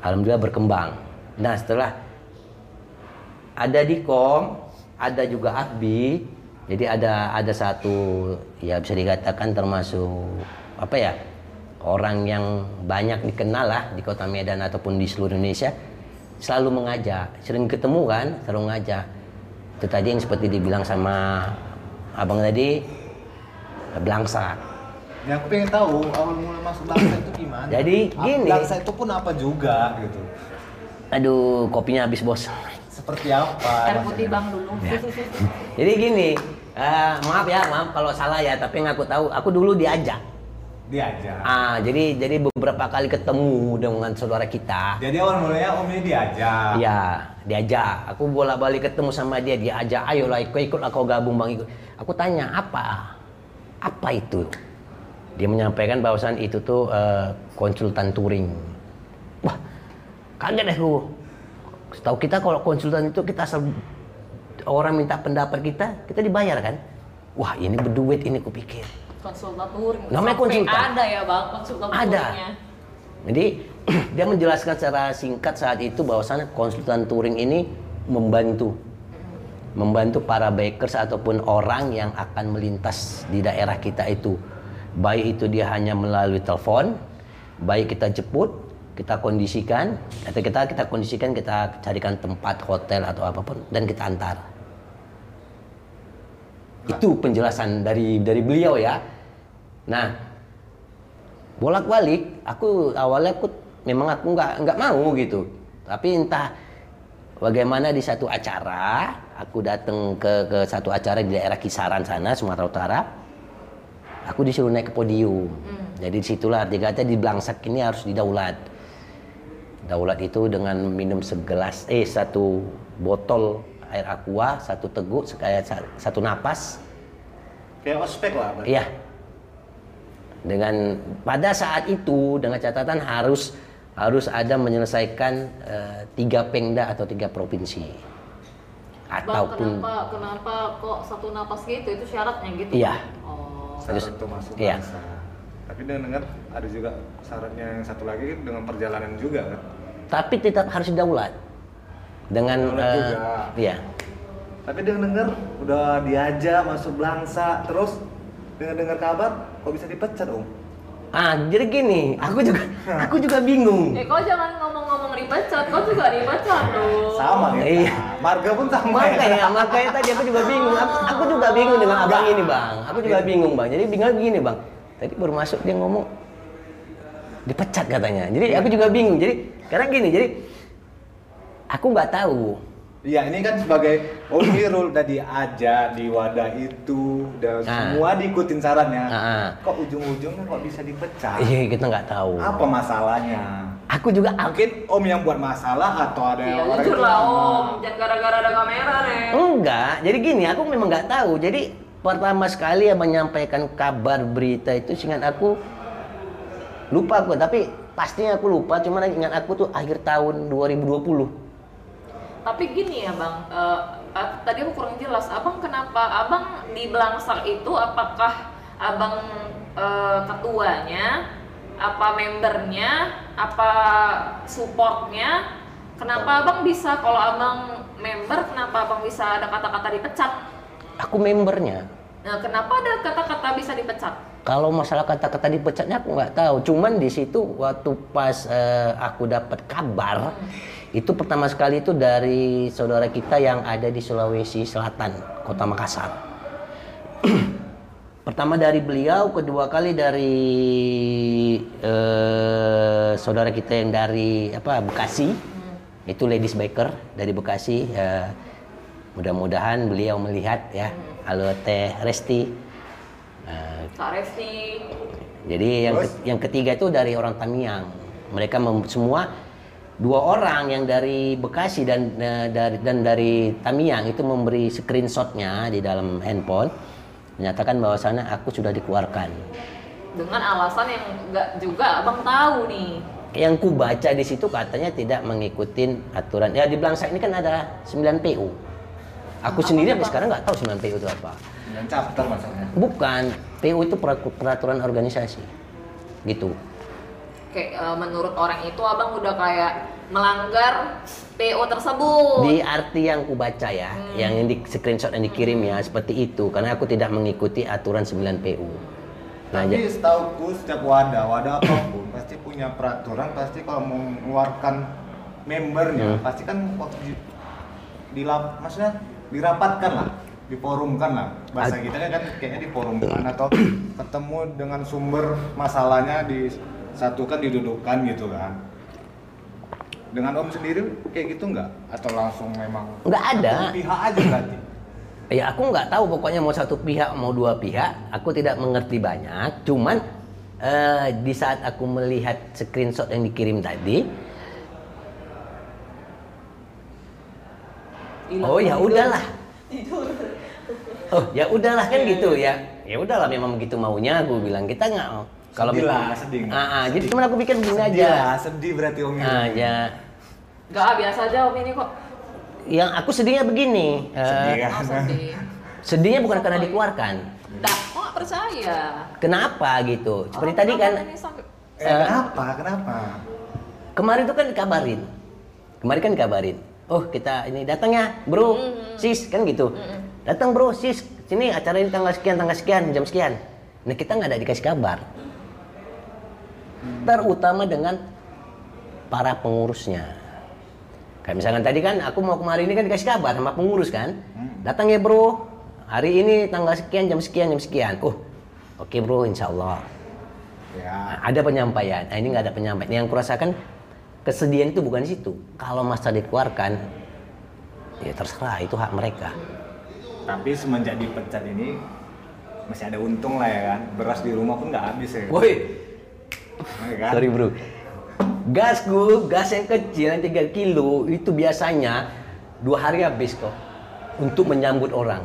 alhamdulillah berkembang nah setelah ada di kom, ada juga akbi. Jadi ada ada satu ya bisa dikatakan termasuk apa ya orang yang banyak dikenal lah di kota Medan ataupun di seluruh Indonesia selalu mengajak, sering ketemu kan, selalu ngajak. Itu tadi yang seperti dibilang sama abang tadi, belangsa. Ya aku pengen tahu awal mula masuk Blangsa itu gimana? Jadi, Ah, gini. Blangsa itu pun apa juga gitu? Aduh, kopinya habis bos. Seperti apa? Air maksudnya? putih bang dulu. Iya. Jadi gini, eh, maaf ya, maaf kalau salah ya, tapi yang aku tahu, aku dulu diajak. Diajak. Ah, jadi jadi beberapa kali ketemu dengan saudara kita. Jadi awal mulanya Om ini diajak. Ya, diajak. Aku bolak-balik ketemu sama dia, dia ajak, ayolah ikut ikut aku gabung Bang ikut. Aku tanya, apa? Apa itu? Dia menyampaikan bahwasan itu tuh eh, konsultan touring. Wah, kaget deh aku. Setahu kita kalau konsultan itu kita asal orang minta pendapat kita, kita dibayar kan? Wah, ini berduit ini kupikir. Konsultan touring. Namanya gitu. Sampai konsultan. Ada ya bang, konsultan Ada. touringnya. Jadi dia menjelaskan secara singkat saat itu bahwasannya konsultan touring ini membantu membantu para bikers ataupun orang yang akan melintas di daerah kita itu. Baik itu dia hanya melalui telepon, baik kita jemput, kita kondisikan, atau kita kita kondisikan kita carikan tempat hotel atau apapun dan kita antar. Itu penjelasan dari dari beliau ya. Nah, bolak-balik aku awalnya aku memang aku nggak nggak mau gitu tapi entah bagaimana di satu acara aku datang ke ke satu acara di daerah kisaran sana Sumatera Utara aku disuruh naik ke podium jadi disitulah arti kata di Blangsak ini harus didaulat daulat itu dengan minum segelas eh satu botol air aqua satu teguk sekaya satu napas Kayak ospek lah. berarti. Iya. Dengan pada saat itu dengan catatan harus harus ada menyelesaikan eh, tiga pengda atau tiga provinsi Bang ataupun kenapa kenapa kok satu napas gitu? Itu syaratnya gitu? Iya. Oh. Saran tuh masuk Iya. Blangsa. tapi dengan dengar ada juga syaratnya yang satu lagi kan dengan perjalanan juga kan Tapi tetap harus daulat dengan Daulat eh, juga. iya. tapi dengan dengar udah diajak masuk belangsa terus dengan dengar kabar kok bisa dipecat om Ah, jadi gini, aku juga aku juga bingung. Eh kau jangan ngomong-ngomong dipecat, kau juga dipecat dong. sama ya Iya. marga pun sama ya. Makanya, makanya tadi aku juga bingung. Aku, aku juga bingung dengan abang ini, Bang. Aku juga bingung, Bang. Jadi bingung gini, Bang. Tadi baru masuk dia ngomong dipecat katanya. Jadi aku juga bingung. Jadi karena gini, jadi aku nggak tahu. Iya ini kan sebagai only rule tadi aja di wadah itu dan Ah. semua diikutin sarannya. Ah. Kok ujung-ujungnya kok bisa dipecah? Iya, kita nggak tahu. Ah. Apa masalahnya? Aku juga aku Mungkin om yang buat masalah atau ada Iya orang jujur itu lah sama. om, jangan gara-gara ada kamera nih. enggak. Jadi gini, aku memang nggak tahu. Jadi pertama sekali yang menyampaikan kabar berita itu singkat aku lupa aku, tapi pastinya aku lupa. Cuman ingat aku tuh akhir tahun 2020. Tapi gini ya bang, eh, eh, tadi aku kurang jelas. Abang kenapa? Abang di Belangsak itu apakah abang eh, ketuanya, apa membernya, apa supportnya? Kenapa abang bisa? Kalau abang member, kenapa abang bisa ada kata-kata dipecat? Aku membernya. Nah, kenapa ada kata-kata bisa dipecat? Kalau masalah kata-kata dipecatnya aku nggak tahu. Cuman di situ waktu pas eh, aku dapat kabar itu pertama sekali itu dari saudara kita yang ada di Sulawesi Selatan, Kota Makassar. pertama dari beliau, kedua kali dari eh, saudara kita yang dari apa Bekasi, itu ladies biker dari Bekasi. eh, mudah-mudahan beliau melihat ya, halo Teh Resti. Eh, Kak Resti, jadi yang Terus? ke- yang ketiga itu dari orang Tamiang. Mereka mem- semua dua orang yang dari Bekasi dan eh, dari dan dari Tamiang itu memberi screenshotnya di dalam handphone menyatakan bahwasannya aku sudah dikeluarkan. dengan alasan yang nggak juga abang tahu nih. Yang ku baca di situ katanya tidak mengikuti aturan. Ya di Blangsa ini kan ada 9 PU. Aku sendiri sampai sekarang nggak tahu 9 PU itu apa. Dan chapter maksudnya. Bukan PU itu peratu- peraturan organisasi. Gitu. Kayak eh, menurut orang itu abang udah kayak melanggar PO tersebut. di arti yang kubaca ya, Hmm. yang yang di screenshot yang dikirim ya seperti itu karena aku tidak mengikuti aturan 9 PU. Nah, Tapi ja- setauku setiap wadah, wadah apapun pasti punya peraturan, pasti kalau mau mengeluarkan Hmm. membernya, pasti kan waktu di, dilap, maksudnya dirapatkan lah, diforumkan lah. Bahasa kita kan kayaknya diforumkan atau ketemu dengan sumber masalahnya disatukan, didudukan gitu kan. Dengan Om sendiri kayak gitu nggak? Atau langsung memang Nggak ada. satu pihak aja berarti? ya aku nggak tahu pokoknya mau satu pihak mau dua pihak, aku tidak mengerti banyak. Cuman eh, di saat aku melihat screenshot yang dikirim tadi, Hilang oh ya tidur. udahlah. Tidur. Oh ya udahlah Iya, kan gitu ya. Ya udahlah memang begitu maunya aku bilang kita nggak kalau Sedih lah, memang- sedih. Ah, ah, jadi cuman aku pikir begini Sedih aja. lah, sedih berarti Om ini. Ah, ya. Nggak ah, biasa aja om ini kok. Yang aku sedihnya begini. eh, Sedih kan? Oh, sedih. Sedihnya bukan karena dikeluarkan. Dah, kok nggak percaya? Kenapa gitu? Seperti Orang tadi kan kenapa ini sampai- Eh, Eh, kenapa? Kenapa? kemarin tuh kan dikabarin. Kemarin kan dikabarin. Oh, kita ini datang ya, Bro. Sis kan gitu. Datang Bro, Sis. Sini acara ini tanggal sekian, tanggal sekian, jam sekian. Nah, kita nggak ada dikasih kabar. Terutama dengan para pengurusnya. Kayak misalkan tadi kan aku mau kemarin ini kan dikasih kabar sama pengurus kan. Datang ya bro, hari ini tanggal sekian, jam sekian, jam sekian. Oh, oke bro, insya Allah. Ya, Nah, ada penyampaian. Nah, ini nggak ada penyampaian. Yang kurasakan kesedihan itu bukan di situ. Kalau masa dikeluarkan, ya terserah itu hak mereka. tapi semenjak dipecat ini masih ada untung lah ya kan. Beras di rumah pun nggak habis ya. Woi, Ya kan? sorry bro. Gasku, gas yang kecil yang 3 kilo itu biasanya dua hari habis kok untuk menyambut orang.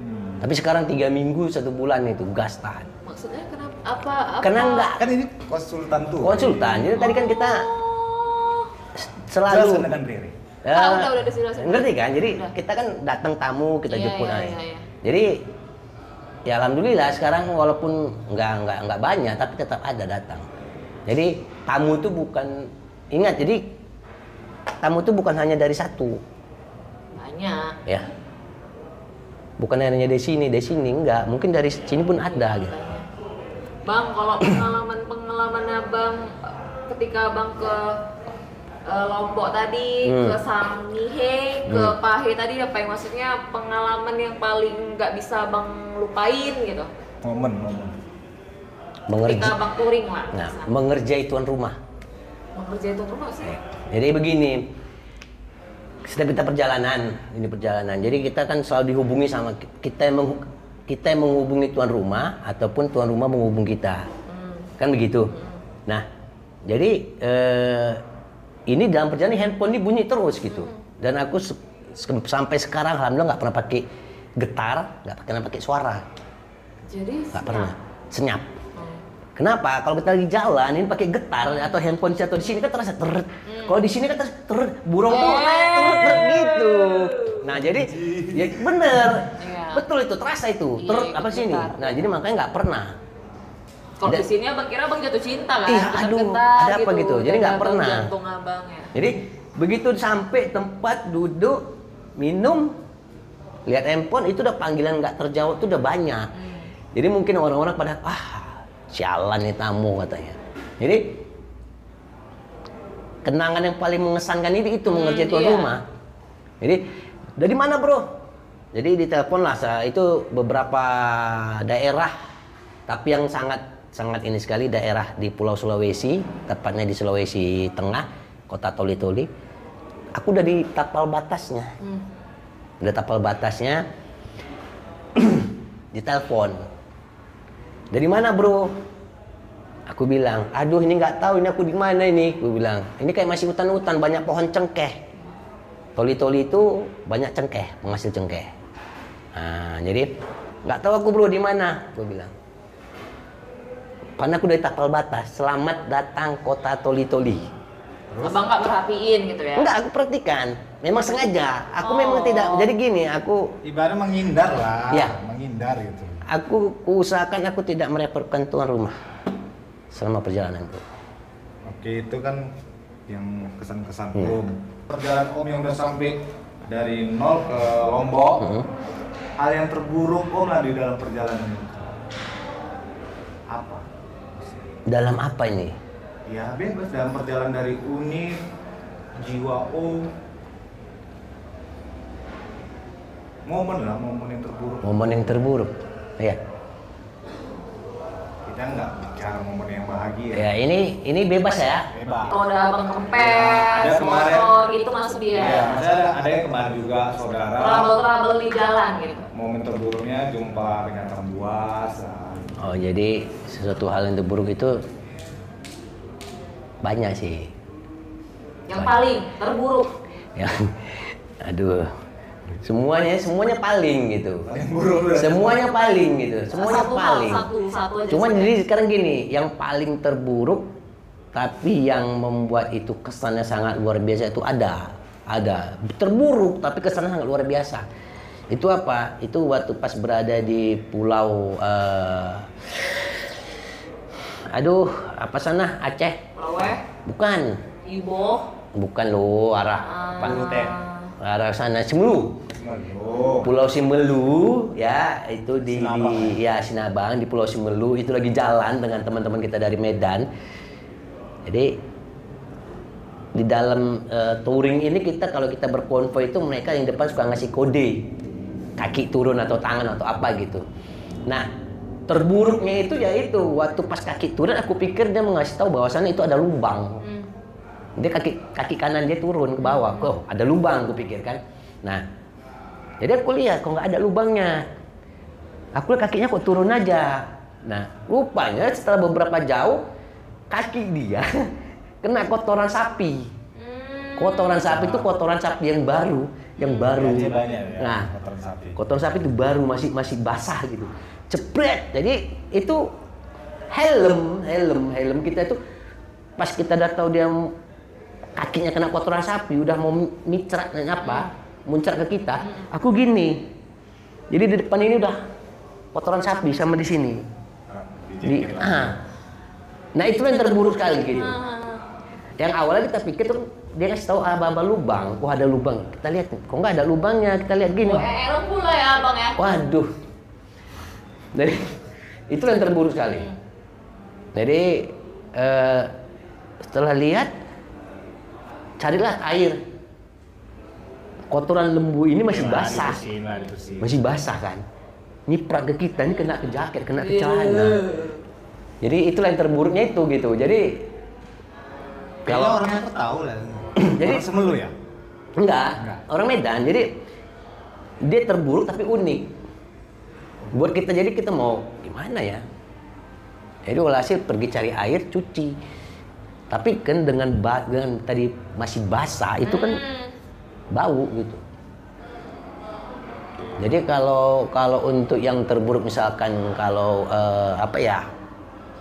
Hmm. Tapi sekarang tiga minggu satu bulan itu gas tahan. Maksudnya kenapa? Apa? apa? Karena nggak Kan ini konsultan tuh. konsultan. Jadi tadi kan kita Oh, s- Jelas selalu kan Riri. Ya, Tahu, tahu, Ah, udah, udah, udah, udah. Ngerti kan? Jadi Udah. kita kan datang tamu kita Iya, jemput iya, aja. iya, iya. Jadi ya alhamdulillah sekarang walaupun nggak nggak nggak banyak tapi tetap ada datang jadi tamu itu bukan ingat jadi tamu itu bukan hanya dari satu banyak ya bukan hanya dari sini dari sini enggak mungkin dari sini pun ada gitu Bang, kalau pengalaman-pengalaman abang eh, ketika abang ke eh, Lombok tadi, Hmm. ke Sangihe, ke Hmm. Pahe tadi apa yang maksudnya pengalaman yang paling nggak bisa abang lupain gitu momen momen ketika mengerja abang touring lah nah, kesana. mengerjai tuan rumah mengerjain itu rumah sih Eh, Jadi begini, setiap kita perjalanan, ini perjalanan. Jadi kita kan selalu dihubungi sama kita yang menghu- kita yang menghubungi tuan rumah ataupun tuan rumah menghubungi kita. Kan begitu. Nah, jadi eh, ini dalam perjalanan handphone ini bunyi terus gitu. Dan aku se- se- sampai sekarang alhamdulillah nggak pernah pakai getar, nggak pernah pakai suara, nggak jadi ya. senyap. pernah senyap. Hmm. Kenapa? Kalau kita lagi jalan ini pakai getar atau handphone atau di sini kan terasa teret. Hmm. Kalau di sini kan terasa teret, burung tuh Eh. naik teret, teret gitu. Nah jadi ya bener, Iya. betul itu terasa itu Iya, teret ikut apa sini. getar. Nah jadi makanya nggak pernah. Kalau Dan- di sini abang kira abang jatuh cinta kan? Iya, aduh, Getar-getar ada apa gitu? Jadi Dan nggak abang pernah. Jantung abang ya. Jadi begitu sampai tempat duduk minum lihat handphone itu udah panggilan nggak terjawab itu udah banyak. Hmm. Jadi mungkin orang-orang pada ah sialan nih tamu katanya. Jadi kenangan yang paling mengesankan ini itu mengerjakan tuan iya. rumah. Jadi dari mana bro? Jadi ditelepon lah sa- itu beberapa daerah tapi yang sangat sangat ini sekali daerah di Pulau Sulawesi, tepatnya di Sulawesi Tengah, kota Toli-Toli. Aku udah di tapal batasnya. Hmm. Udah tapal batasnya. ditelepon. Dari mana, Bro? Aku bilang, aduh ini nggak tahu ini aku di mana ini. Aku bilang, ini kayak masih hutan-hutan banyak pohon cengkeh. Toli-toli itu banyak cengkeh, penghasil cengkeh. Nah, jadi nggak tahu aku bro di mana. Aku bilang, karena aku dari tapal batas. Selamat datang kota toli-toli. Abang nggak merhatiin gitu ya? Enggak, aku perhatikan. Memang sengaja. Aku memang Oh. tidak. Jadi gini, aku ibaratnya menghindar lah Iya. menghindar gitu aku usahakan aku tidak merepotkan tuan rumah selama perjalananku. oke itu kan yang kesan-kesan om perjalanan om yang udah sampai dari nol ke lombok Hmm. hal yang terburuk om lah di dalam perjalanan itu apa Dalam apa ini? ya bebas dalam perjalanan dari unit jiwa om momen lah momen yang terburuk Momen yang terburuk. Ya. kita nggak bicara momen yang bahagia Ya, ini ini bebas ya. bebas Kalau ada abang kempes, Iya, Ada kemarin. motor gitu masuk dia. Iya, saya ada yang kemarin juga saudara Trouble-trouble di jalan gitu. momen terburuknya jumpa dengan tembuas ah. Oh, jadi sesuatu hal yang terburuk itu banyak sih. Yang paling terburuk. Ya. Aduh. Semuanya semuanya paling gitu. Paling buruk lah. Semuanya paling gitu. Semuanya satu hal, paling. satu, satu aja. Cuman sih. jadi sekarang gini, yang paling terburuk tapi yang membuat itu kesannya sangat luar biasa itu ada. Ada. Terburuk tapi kesannya sangat luar biasa. Itu apa? Itu waktu pas berada di pulau eh, Aduh, apa sana? Aceh? Laweh, Bukan. Iboh, Bukan lo arah ah, apa? Arah sana Simelu. Aduh. Pulau Simelu ya itu di, Sinabang. di- ya Sinabang di Pulau Simelu itu lagi jalan dengan teman-teman kita dari Medan. Jadi di dalam eh, touring ini kita kalau kita berkonvoy itu mereka yang depan suka ngasih kode kaki turun atau tangan atau apa gitu. Nah terburuknya itu ya itu waktu pas kaki turun aku pikir dia mengasih tahu bahwasannya itu ada lubang Hmm. dia kaki kaki kanan dia turun ke bawah kok ada lubang gue pikir kan nah jadi aku lihat kok nggak ada lubangnya aku lihat kakinya kok turun aja nah rupanya setelah beberapa jauh kaki dia kena kotoran sapi Hmm. kotoran sapi itu kotoran sapi yang baru yang baru Aceh banyak ya nah kotoran sapi kotoran sapi itu baru masih masih basah gitu jepret jadi itu helm helm helm kita itu pas kita udah tahu dia m- kakinya kena kotoran sapi udah mau micrak dan apa muncrat ke kita aku gini jadi di depan ini udah kotoran sapi sama di sini. Di, Dijengkel. ah. Nah itu yang terburuk sekali gitu. Yang awalnya kita pikir tuh dia ngasih tahu abang-abang lubang, wah ada lubang, kita lihat nih. Kok nggak ada lubangnya, kita lihat gini. Oh, eh, lo pula ya abang ya. Waduh. Jadi itu yang terburuk sekali. Jadi eh, setelah lihat carilah air. Kotoran lembu ini masih Nah, basah, Dibersihin lah, dibersihin. masih basah kan. Nyiprat ke kita, ini kena ke jaket, kena ke celana. Jadi itulah yang terburuknya itu gitu. Jadi Kayaknya kalau orangnya aku tahu lah. Jadi- Orang semelu ya. enggak, Enggak. orang Medan. Jadi dia terburuk tapi unik. Buat kita jadi kita mau gimana ya? Jadi walhasil pergi cari air cuci. Tapi kan dengan ba- dengan tadi masih basah itu kan bau gitu. Jadi kalau kalau untuk yang terburuk misalkan kalau eh, apa ya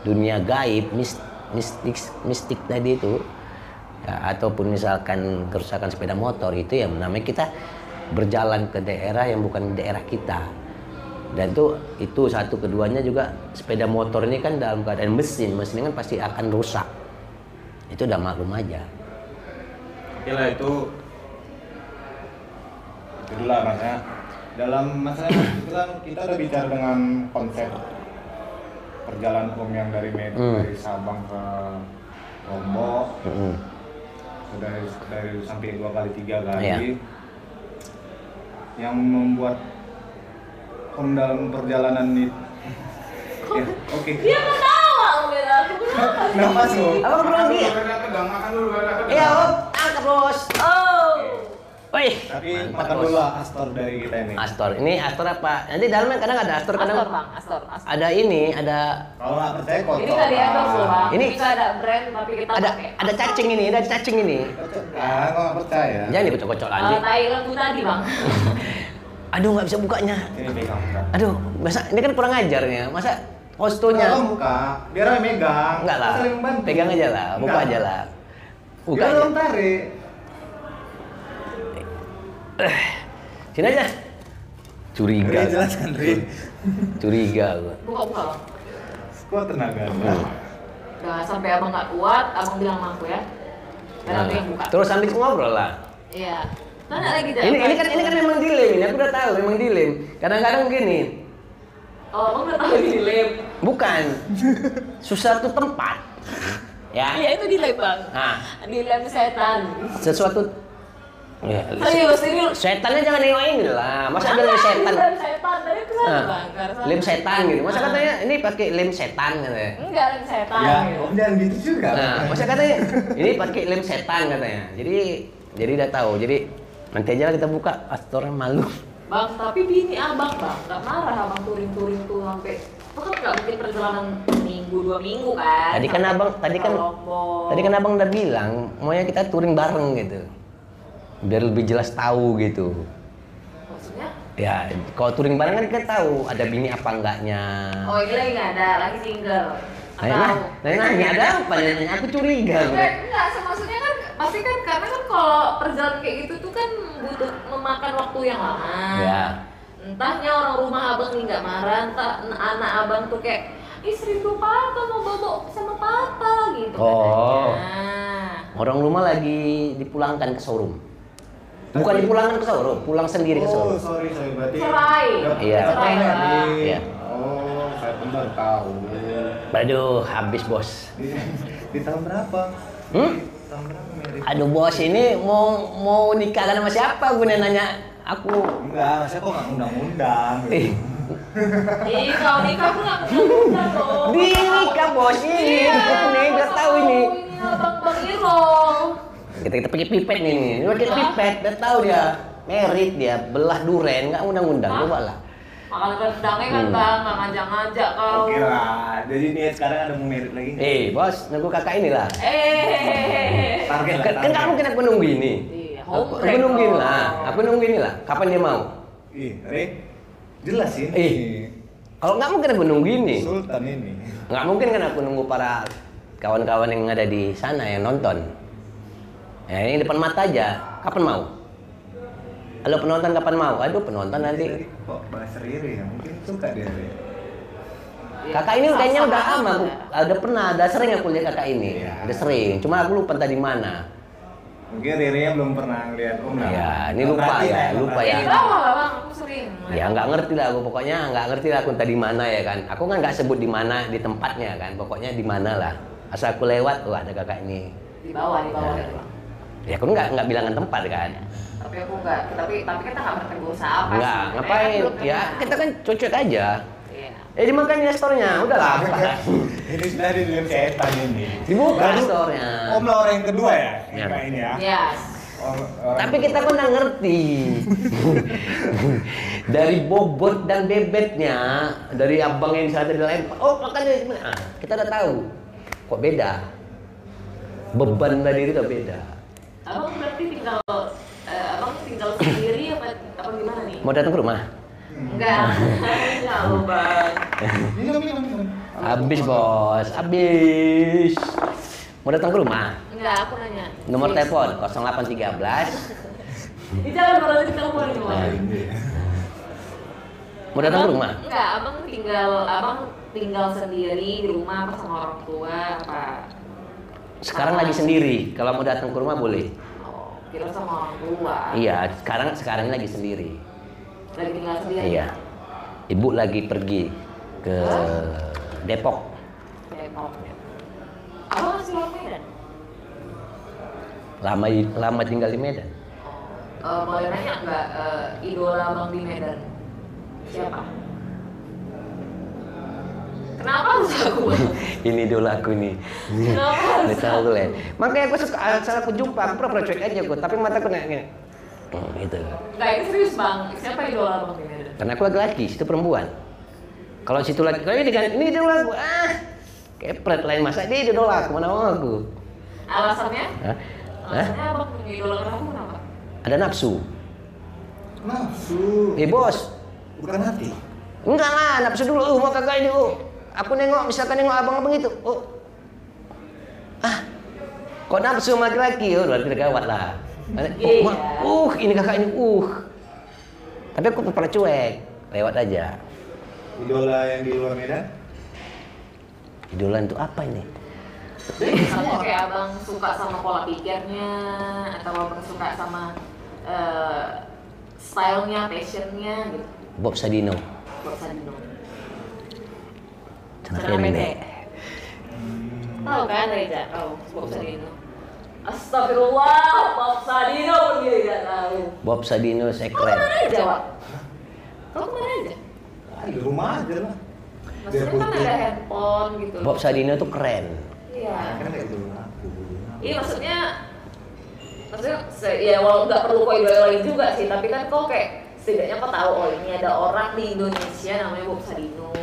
dunia gaib mis- mistik mistik tadi itu ya, ataupun misalkan kerusakan sepeda motor itu ya namanya kita berjalan ke daerah yang bukan daerah kita dan itu itu satu keduanya juga sepeda motor ini kan dalam keadaan mesin mesin kan pasti akan rusak itu udah maklum aja Oke Iya lah itu itu dulu lah maksudnya dalam masalah kebetulan kita udah bicara dengan konsep perjalanan umum yang dari Medan Hmm. dari Sabang ke Lombok Mm-mm. sudah dari sampai dua kali tiga kali Iya. yang membuat om dalam perjalanan ini ya, oke Dia ketawa lo beda. Kenapa? nggak masuk apa perlu lagi makan dulu, makan dulu. iya Om. angkat bos Oh. Wih, tapi mantap, makan Bos. dulu lah astor dari kita ini Astor. Ini Astor apa? Nanti dalamnya kadang ada Astor, kadang Astor bang, Astor. Astor. ada ini, ada kalau nggak percaya kotor Ini ya, nggak diatur loh bang. Ini- Ini nggak ada brand tapi kita ada pakai. ada cacing ini, ada cacing ini. Kocok lah, kok nggak percaya Jangan dikocok-kocok Eh, lagi. Tai lembu tadi bang. Aduh, nggak bisa bukanya. ini pegang Aduh, masa ini kan kurang ajar ya. Masa Punya hostonya muka, biar aja megang. enggak lah. Sering bantu. Iya, Pegang aja lah, buka Enggak. aja lah. Buka Dia aja. belum tarik. Sini aja. Curiga. Rin, Iya, jelaskan Rin. Curiga gua. Buka buka. Bang. Kuat tenaga. Udah sampai abang nggak kuat, abang bilang sama aku ya. Dan aku yang buka. Terus sambil ngobrol lah. Iya. Tanya lagi Jan. Ini, ini kan ini kan memang dilem ini. Aku udah tahu memang dilem. Kadang-kadang gini, Oh, abang udah tahu ini di lab. Bukan. Sesuatu tempat. Ya. Iya itu di lab bang. Nah, Di lab setan. sesuatu ya, Serius ini. setannya jangan nengokin dulu lah. Masa ada lem setan? Lab setan tadi itu kan Nah, bang. Nggak ada lem salah. setan gitu. Masa Ah. katanya ini pakai lem setan katanya. Enggak lem setan. Ya, gitu. om jangan gitu juga. Nah, masa katanya ini pakai lem setan katanya. Jadi jadi udah tahu. Jadi nanti aja lah kita buka astor malu. Bang, tapi bini abang bang, nggak marah abang touring-touring tuh sampai itu kan nggak mungkin perjalanan minggu dua minggu kan? Tadi kan Sampai abang, tadi kan, ke Lombok. tadi kan abang udah bilang, maunya kita touring bareng gitu, biar lebih jelas tahu gitu. Maksudnya? Ya, kalau touring bareng kan kita tahu ada bini apa enggaknya. Oh ini lagi nggak ada, lagi single. Nanya, nah, Atau- nanya, nanya ada apa? Nanya, nanya, aku curiga. Enggak, enggak, se- maksudnya kan pasti kan karena kan kalau perjalanan kayak gitu tuh kan butuh memakan waktu yang lama. Ya. Entahnya orang rumah abang nih nggak marah, entah n- anak abang tuh kayak istri gue patah mau bobo sama papa gitu Oh. katanya. Orang rumah lagi dipulangkan ke showroom. Bukan dipulangkan ke showroom, pulang sendiri Oh, ke showroom. sorry, sorry berarti. Cerai. Dap- Iya. cerai Cerai, lagi. Pak. Iya. Oh, saya pun baru tahu. Iya. Aduh, habis bos. Di, di tahun berapa? Hmm? Di tahun berapa mirip? Aduh bos, ini mau mau nikah kan sama siapa? Gue nanya, nanya aku. Enggak, saya kok nggak undang-undang. gitu. Ih, Nah, Ih, kalau nikah aku nggak mudah dong. di nikah bos ini, Iya, ini udah tahu ini. Ini abang Bang Iro. Kita kita pakai pipet nih, nih. Ini pakai pipet, udah tahu dia. Merit dia, belah duren, nggak undang-undang, Hah? coba lah. Makan rendangnya kan Hmm. bang, nggak ngajak-ngajak kau. Oke lah, jadi ini sekarang ada mau merit lagi nggak? Eh, bos, nunggu kakak inilah. Eh. Target lah, Kan kan target. kamu kena aku nunggu ini. Iya, Aku, home aku track nungguin dong. lah. Aku nungguin lah. Kapan dia mau? Ih, Re, jelas ini. Ih. Kalau nggak mungkin aku nunggu ini. Sultan ini. Nggak mungkin kan aku nunggu para kawan-kawan yang ada di sana yang nonton. Ya, ini depan mata aja. Kapan mau? Kalau penonton kapan mau? Aduh penonton nanti. Jadi, kok bahas riri ya mungkin suka dia Riri. Ya, Kakak ini sama- kayaknya sama udah apa aman. ya? Ada pernah, ada sering aku lihat kakak ini. Iya. Ada sering. Cuma aku lupa tadi mana. mungkin riri belum pernah ngeliat om lah. Iya, ini lupa Perhatiin ya, lah, lupa Ya ya. di bawah lah bang, aku sering. Ya nggak ngerti lah aku pokoknya nggak ngerti lah aku tadi mana ya kan. Aku kan nggak sebut di mana di tempatnya kan. Pokoknya di mana lah. Asal aku lewat, wah ada kakak ini. Di bawah, di bawah. Ya. Ya aku nggak nggak bilangan tempat kan. Tapi aku nggak, tapi tapi kita nggak pernah berusaha apa. Nggak sebenarnya, ngapain? belum Ya kenal. kita kan cocok aja. Iya. Ya dimakan investornya, udahlah. ini sudah di dalam setan ini. Dibuka Baru- store-nya. Om lah orang yang kedua ya, Iya. Kak ini ya. Yes. Or- orang- Tapi kita kan nggak ngerti dari bobot dan bebetnya dari abang yang di sana di lain. Oh makan dari mana? Ah, Kita udah tahu kok beda beban dari itu udah beda. Abang berarti tinggal, eh, abang tinggal sendiri apa, apa gimana nih? Mau datang ke rumah? Enggak, jauh bang. Minum, minum, minum. Habis bos, habis. Mau datang ke rumah? Enggak, aku nanya. Nomor Yes. telepon 0813. Di jalan baru aja telepon di rumah. Nah, Mau datang ke Abang- rumah? Enggak, abang tinggal, abang tinggal sendiri di rumah apa sama orang tua apa? Sekarang lagi sendiri. Kalau mau datang ke rumah boleh. Oh, kira sama orang tua. Iya, sekarang sekarang lagi sendiri. Lagi tinggal sendiri. Iya. Ibu lagi pergi ke Depok. Kayak mau. Abang masih orang Medan? Lama lama tinggal di Medan. Oh, eh, boleh nanya nggak eh, idola abang di Medan? Siapa? Kenapa harus aku? Bang? Ini idola aku nih. Kenapa Udah harus tahu lah. Makanya aku suka asal aku jumpa, aku pura-pura cuek aja aku, tapi mata aku nanya. Hmm, gitu. Nggak, ini serius bang. Siapa idola abang di Medan? Karena aku laki-laki, situ perempuan. Kalau situ laki, kalau ini dengan ini idola aku. Ah, kepret lain masa dia idola aku, mana mau aku. Alasannya? Hah? Hah? Alasannya abang punya idola kamu kenapa? Ada nafsu. Nafsu, Eh bos, bukan hati. Enggak lah, nafsu dulu. Uh, mau kagak ini, uh. Aku nengok, misalkan nengok abang-abang itu. Uh. Ah, kok nafsu sama laki-laki? Uh, berarti udah gawat lah. Iya. Uh, ma- uh, ini kakak ini, uh. Tapi aku pernah cuek, lewat aja. Idola yang di luar Medan? Idola itu apa ini? Jadi misalnya kayak abang suka sama pola pikirnya atau abang suka sama eh, stylenya, fashionnya gitu. Bob Sadino. Gak usah dong. Celana Celana pendek. Tahu kan Reza? Tahu. Bob Sadino. Astagfirullah, Bob Sadino pun dia tidak tahu. Bob Sadino Kau kemana sekret. aja, Wak? Kau kemana aja? Ah, di rumah aja lah. Biar Maksudnya kan putih. ada handphone gitu. Bob Sadino tuh keren. Iya. Kan kayak idola aku. Iya maksudnya maksudnya se- ya walau nggak perlu kau idolain juga sih tapi kan kau kayak setidaknya kau tahu oh ini ada orang di Indonesia namanya Bob Sadino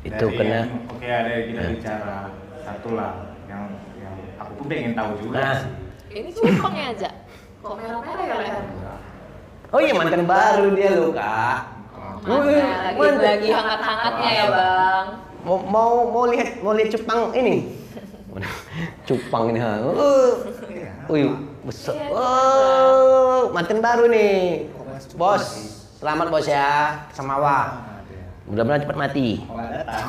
Itu Dari kena. yang- Oke, ada yang kita Nah. bicara satu lah yang yang aku pun pengen tahu juga Nah. sih. ini cukongnya aja kok merah-merah ya lehermu Oh iya mantan baru dia loh kak. Wih, Mana lagi, mantap. lagi hangat-hangatnya ya bang mau mau mau lihat mau lihat cupang ini cupang ini ha uh, Iya, Iya. Wih, besar oh mantan baru nih bos selamat bos ya sama wa Ah, ada. mudah-mudahan cepat mati Kalau nggak datang.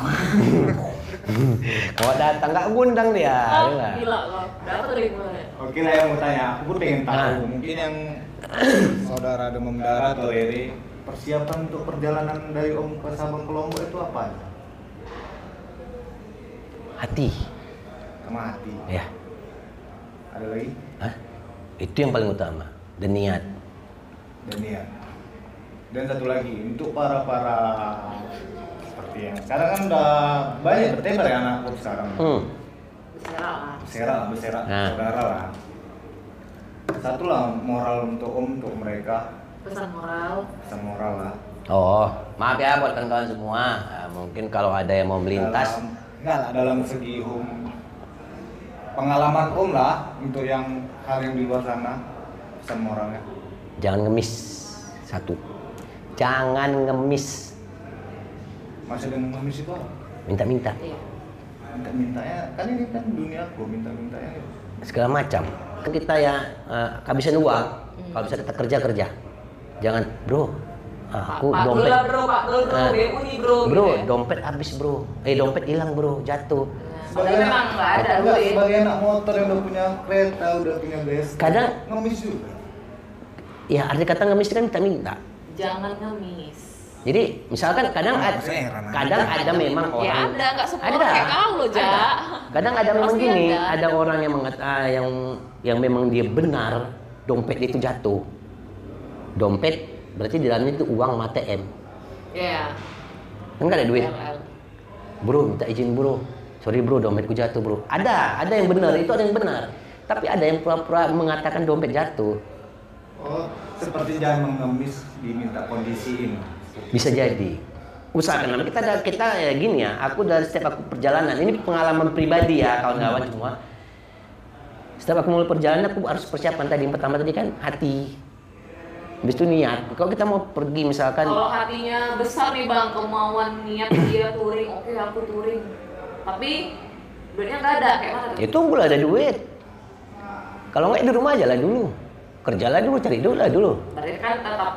kalau datang nggak gundang dia ya Ah, nggak? gila kok dapat dari mana ya? Oke lah yang mau tanya, aku pun pengen tahu. Nah. Mungkin yang saudara demam darah atau Riri persiapan untuk perjalanan dari Om ke Sabang ke Lombok itu apa? hati Sama hati. ya Ada lagi? Hah? itu yang paling utama dan niat Dan niat. Dan satu lagi untuk para para seperti yang sekarang kan udah banyak bertebar ya anak pop sekarang. hmm. Bisa lah Bersera lah, bersera Nah. saudara lah. Satu lah moral untuk Om untuk mereka, pesan moral pesan moral lah. oh maaf ya buat kawan-kawan semua Ah, mungkin kalau ada yang mau melintas Dalam- enggak lah dalam segi om pengalaman om lah untuk yang hal yang di luar sana pesan moralnya jangan ngemis satu jangan ngemis masih ada yang mengemis itu apa? minta-minta iya minta-mintanya kan ini kan dunia aku minta-mintanya segala macam kan kita ya eh, kehabisan uang Hmm. Kalau bisa kita kerja kerja, jangan bro, ah, aku Pak Dul dompet lah bro, Pak Dul bro, Eh, BU nih bro. bro, gitu ya. dompet habis bro, eh dompet hilang bro, jatuh. Nah, Tapi memang nggak ada Enggak, duit. sebagai anak motor yang udah punya kereta, udah punya best. Kadang- ngemis juga. Ya arti kata ngemis kan kita minta. Jangan ngemis. Jadi misalkan kadang ad- Heran, kadang ada memang Ya orang ada, nggak semua Ada. kayak kau loh, Ja. Ada. Kadang ada memang Pasti gini, ada. ada orang yang mengatakan yang yang memang dia benar dompet itu jatuh. Dompet berarti di dalamnya itu uang ATM. Ya. Kan nggak ada duit. LL. Bro, minta izin bro. Sorry bro, dompetku jatuh bro. Ada, ada yang benar, itu ada yang benar. Tapi ada yang pura-pura mengatakan dompet jatuh. Oh, seperti jangan mengemis diminta kondisiin. Bisa jadi. Usahakan Nah, kita ada- kita ya gini ya. Aku dari setiap aku perjalanan, ini pengalaman pribadi ya kawan-kawan semua. Setiap aku mulai perjalanan aku harus persiapan tadi yang pertama tadi kan hati. Habis itu niat. Kalau kita mau pergi misalkan Kalau hatinya besar nih bang, kemauan niat dia touring, oke aku touring. Tapi duitnya nggak ada, kayak mana? tuh? itu mulai ya ada duit. Kalau nggak ya di rumah aja lah dulu. Kerjalah dulu, cari duit lah dulu. Berarti kan tetap,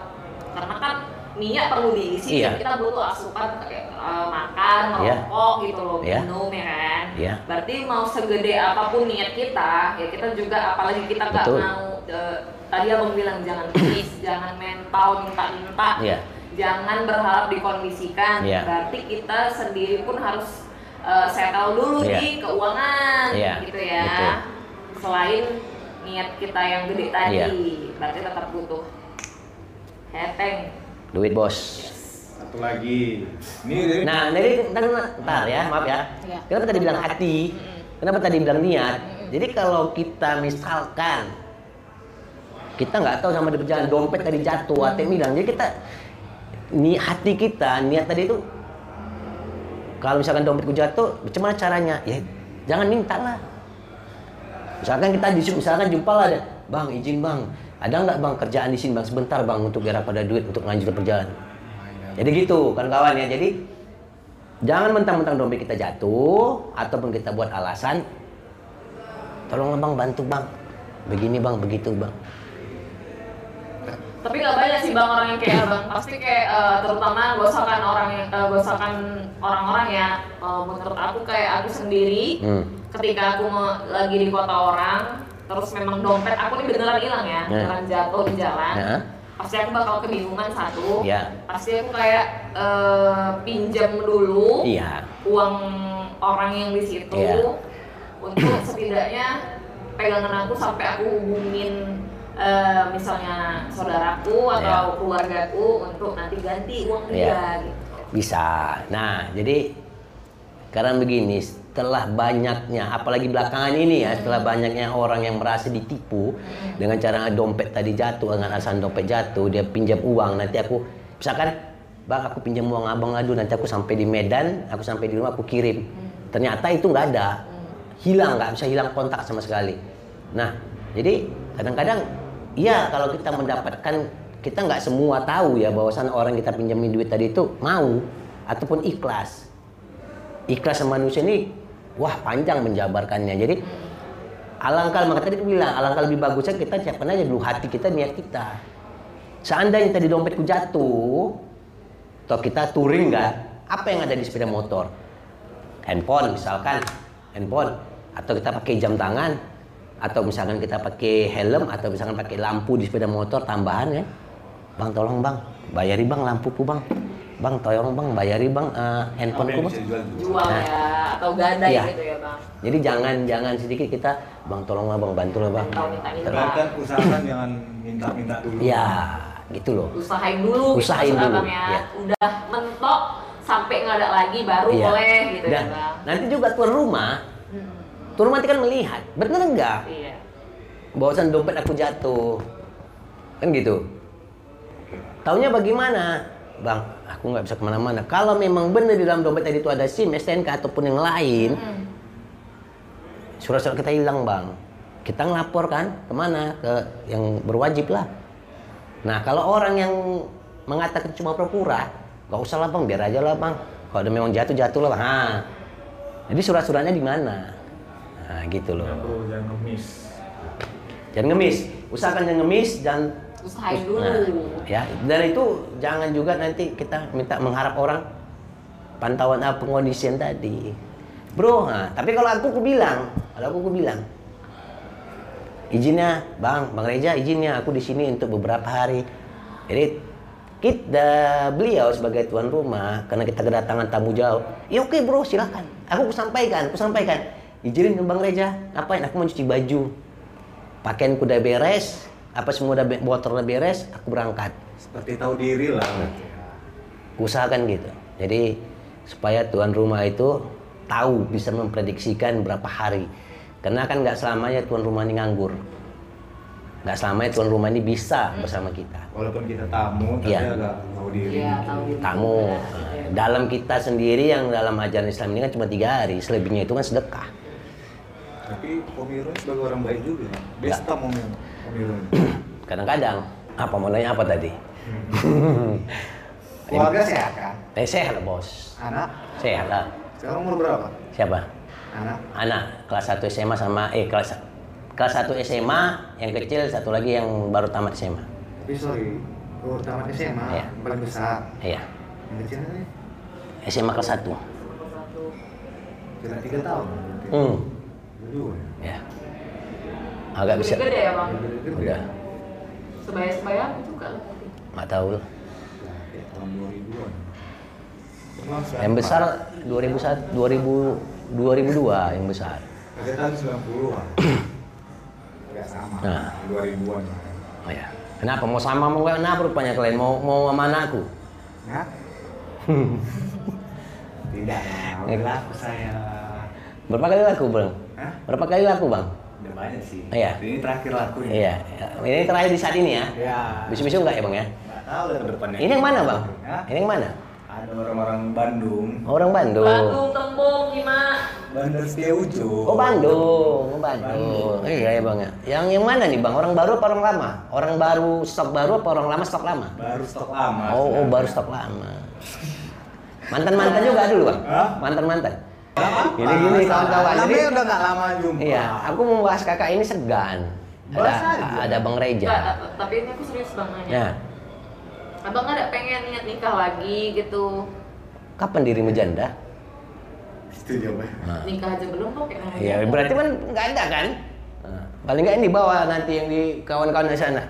karena kan niat perlu diisi, Iya. kita butuh asupan kayak eh, makan, Iya. merokok gitu loh, Iya. minum ya kan. Iya. Berarti mau segede apapun niat kita, ya kita juga apalagi kita nggak Betul. mau eh, tadi abang bilang jangan miss, jangan mental minta-minta. Iya. Jangan berharap dikondisikan. Iya. Berarti kita sendiri pun harus eh, settle dulu Iya. di keuangan Iya, gitu ya. betul. Selain niat kita yang gede tadi, Iya. berarti tetap butuh heteng. Duit bos. Satu lagi. Ini dari Nah, jadi ntar, ntar, ntar ya, maaf ya. Iya. Kenapa tadi bilang hati? Kenapa tadi bilang niat? Jadi kalau kita misalkan kita nggak tahu sama di perjalanan dompet tadi jatuh, ATM hilang. Jadi kita ni hati kita, niat tadi itu kalau misalkan dompetku jatuh, bagaimana caranya? Ya, jangan minta lah. Misalkan kita disuruh, misalkan jumpa lah, ada, bang izin bang, ada nggak bang kerjaan di sini bang sebentar bang untuk garap pada duit untuk lanjut perjalanan. Nah, iya. Jadi gitu kan kawan ya. Jadi jangan mentang-mentang dompet kita jatuh ataupun kita buat alasan. Tolonglah bang bantu bang. Begini bang, begitu bang. Tapi nggak banyak sih bang orang yang kayak abang. Pasti kayak eh, terutama gosokan orang yang eh, gosokan orang-orang ya. Eh, menurut aku kayak aku sendiri, Hmm. ketika aku mau- lagi di kota orang, terus memang dompet aku ini beneran hilang ya, Ya. beneran jatuh di jalan. Ya. Pasti aku bakal kebingungan satu. Ya. Pasti aku kayak eh, pinjam dulu Iya. uang orang yang di situ Iya. untuk setidaknya pegangan aku sampai aku hubungin eh, misalnya saudaraku atau keluargaku untuk nanti ganti uang dia Iya. gitu. Bisa. Nah, jadi karena begini, setelah banyaknya, apalagi belakangan ini ya, setelah banyaknya orang yang merasa ditipu dengan cara dompet tadi jatuh, dengan alasan dompet jatuh, dia pinjam uang, nanti aku, misalkan, bang aku pinjam uang abang aduh, nanti aku sampai di Medan, aku sampai di rumah, aku kirim. Ternyata itu nggak ada, hilang, nggak bisa hilang kontak sama sekali. Nah, jadi kadang-kadang, iya kalau kita mendapatkan kita nggak semua tahu ya bahwasan orang kita pinjamin duit tadi itu mau ataupun ikhlas. Ikhlas sama manusia ini wah panjang menjabarkannya. Jadi alangkah maka tadi aku bilang alangkah lebih bagusnya kita siapkan aja dulu hati kita niat kita. Seandainya tadi dompetku jatuh, atau kita touring nggak? Apa yang ada di sepeda motor? Handphone misalkan, handphone atau kita pakai jam tangan atau misalkan kita pakai helm atau misalkan pakai lampu di sepeda motor tambahan kan? Bang tolong bang, bayari bang lampuku bang. Bang tolong bang, bayari bang eh, apa handphoneku yang bang. bisa jual dulu? jual Nah. ya atau gadai Iya. gitu ya bang Jadi jangan jangan sedikit kita bang tolonglah bang bantulah bang. Atau minta-minta. Bahkan usahakan jangan minta-minta dulu. Ya gitu loh. usahain dulu gitu Usahain maksud dulu, abang ya iya. udah mentok sampai nggak ada lagi baru Iya. boleh gitu Dan ya bang nanti juga tuan rumah, Hmm, tuan rumah nanti kan melihat, bener nggak? iya bahwasan dompet aku jatuh kan gitu taunya bagaimana bang aku nggak bisa kemana-mana kalau memang benar di dalam dompet tadi itu ada sim stnk ataupun yang lain surat-surat kita hilang bang kita ngelapor kan kemana ke yang berwajib lah nah kalau orang yang mengatakan cuma pura-pura nggak usah lah bang biar aja lah bang kalau udah memang jatuh jatuh lah bang Ha. jadi surat-suratnya di mana nah gitu loh Bro, jangan ngemis. Jangan ngemis. Usahakan jangan ngemis dan usahain dulu ya dari itu jangan juga nanti kita minta mengharap orang pantauan apa pengondisian tadi. Bro, nah, tapi kalau aku aku bilang, kalau aku aku bilang izinnya Bang, Bang Reja izinnya aku di sini untuk beberapa hari. Jadi kita beliau sebagai tuan rumah karena kita kedatangan tamu jauh. Ya oke bro, silahkan. Aku sampaikan, aku sampaikan. Izinin ke Bang Reja, ngapain? Aku mau cuci baju. Pakaianku udah beres, apa semua udah be- botol udah beres, aku berangkat. Seperti tahu diri lah. Nah. Usahakan gitu. Jadi supaya tuan rumah itu tahu bisa memprediksikan berapa hari. Karena kan nggak selamanya tuan rumah ini nganggur. Nggak selamanya tuan rumah ini bisa bersama kita. Walaupun kita tamu, tapi Iya. agak tahu diri. Iya, tahu diri. tamu Nah, Nah, dalam kita sendiri yang dalam ajaran Islam ini kan cuma tiga hari selebihnya itu kan sedekah Tapi Pomiro sebagai orang baik juga. ya. Besta Pomiro. Pomiro. kadang-kadang apa mau nanya apa tadi Keluarga sehat kan? eh sehat lah, bos Anak? sehat lah Sekarang umur berapa? siapa Anak? anak kelas 1 SMA sama eh kelas kelas 1 SMA yang kecil satu lagi yang baru tamat SMA Tapi sorry, umur tamat SMA, Iya. yang paling besar. iya Yang kecil ini SMA kelas 1 kira tiga tahun. hmm Dua. ya agak bisa gede ya bang udah sebaya sebaya juga lah. nggak tahu Nah, lah Tahun 2000-an. yang besar 2001 2000 2002 yang besar Kegiatan 90-an. Agak sama. Nah. 2000-an. lah. Oh ya. Kenapa mau sama mau nggak? kenapa rupanya kalian mau mau sama anakku? Nah. Tidak lah, udah laku saya. Berapa kali laku bang? Hah? Berapa kali laku bang? Udah banyak sih. Iya. Ini terakhir laku ini. Iya. Ini terakhir di saat ini ya. Iya. Besok-besok nggak ya bang ya? Nggak tahu lah ke depannya. Ini yang mana bang? Hah? Ini yang mana? Oh, Ada orang-orang Bandung. Orang Bandung. Bandung tembung gimana Bandar Setia Ujo. Oh Bandung, oh Bandung. Bandung. Iya ya bang ya. Yang yang mana nih bang? Orang baru apa orang lama? Orang baru stok baru apa orang lama stok lama? Baru stok lama. Oh, oh sebenarnya. baru stok lama. Mantan mantan juga dulu bang? Hah? Mantan mantan. Apa? Gini gini kawan-kawan. Jadi- Namanya udah nggak lama jumpa. Iya, aku mau bahas kakak ini segan. Bahas Ada, aja. ada Bang Reja. Nggak, ta- tapi ini aku serius bang nanya Iya. Ya, abang nggak ada pengen niat nikah lagi gitu kapan dirimu janda? Itu jawabannya. Nah, nikah aja belum kok kayak nanya. Iya, berarti kan nggak ada kan? Nah, paling nggak ini bawa nanti yang di kawan-kawan di sana.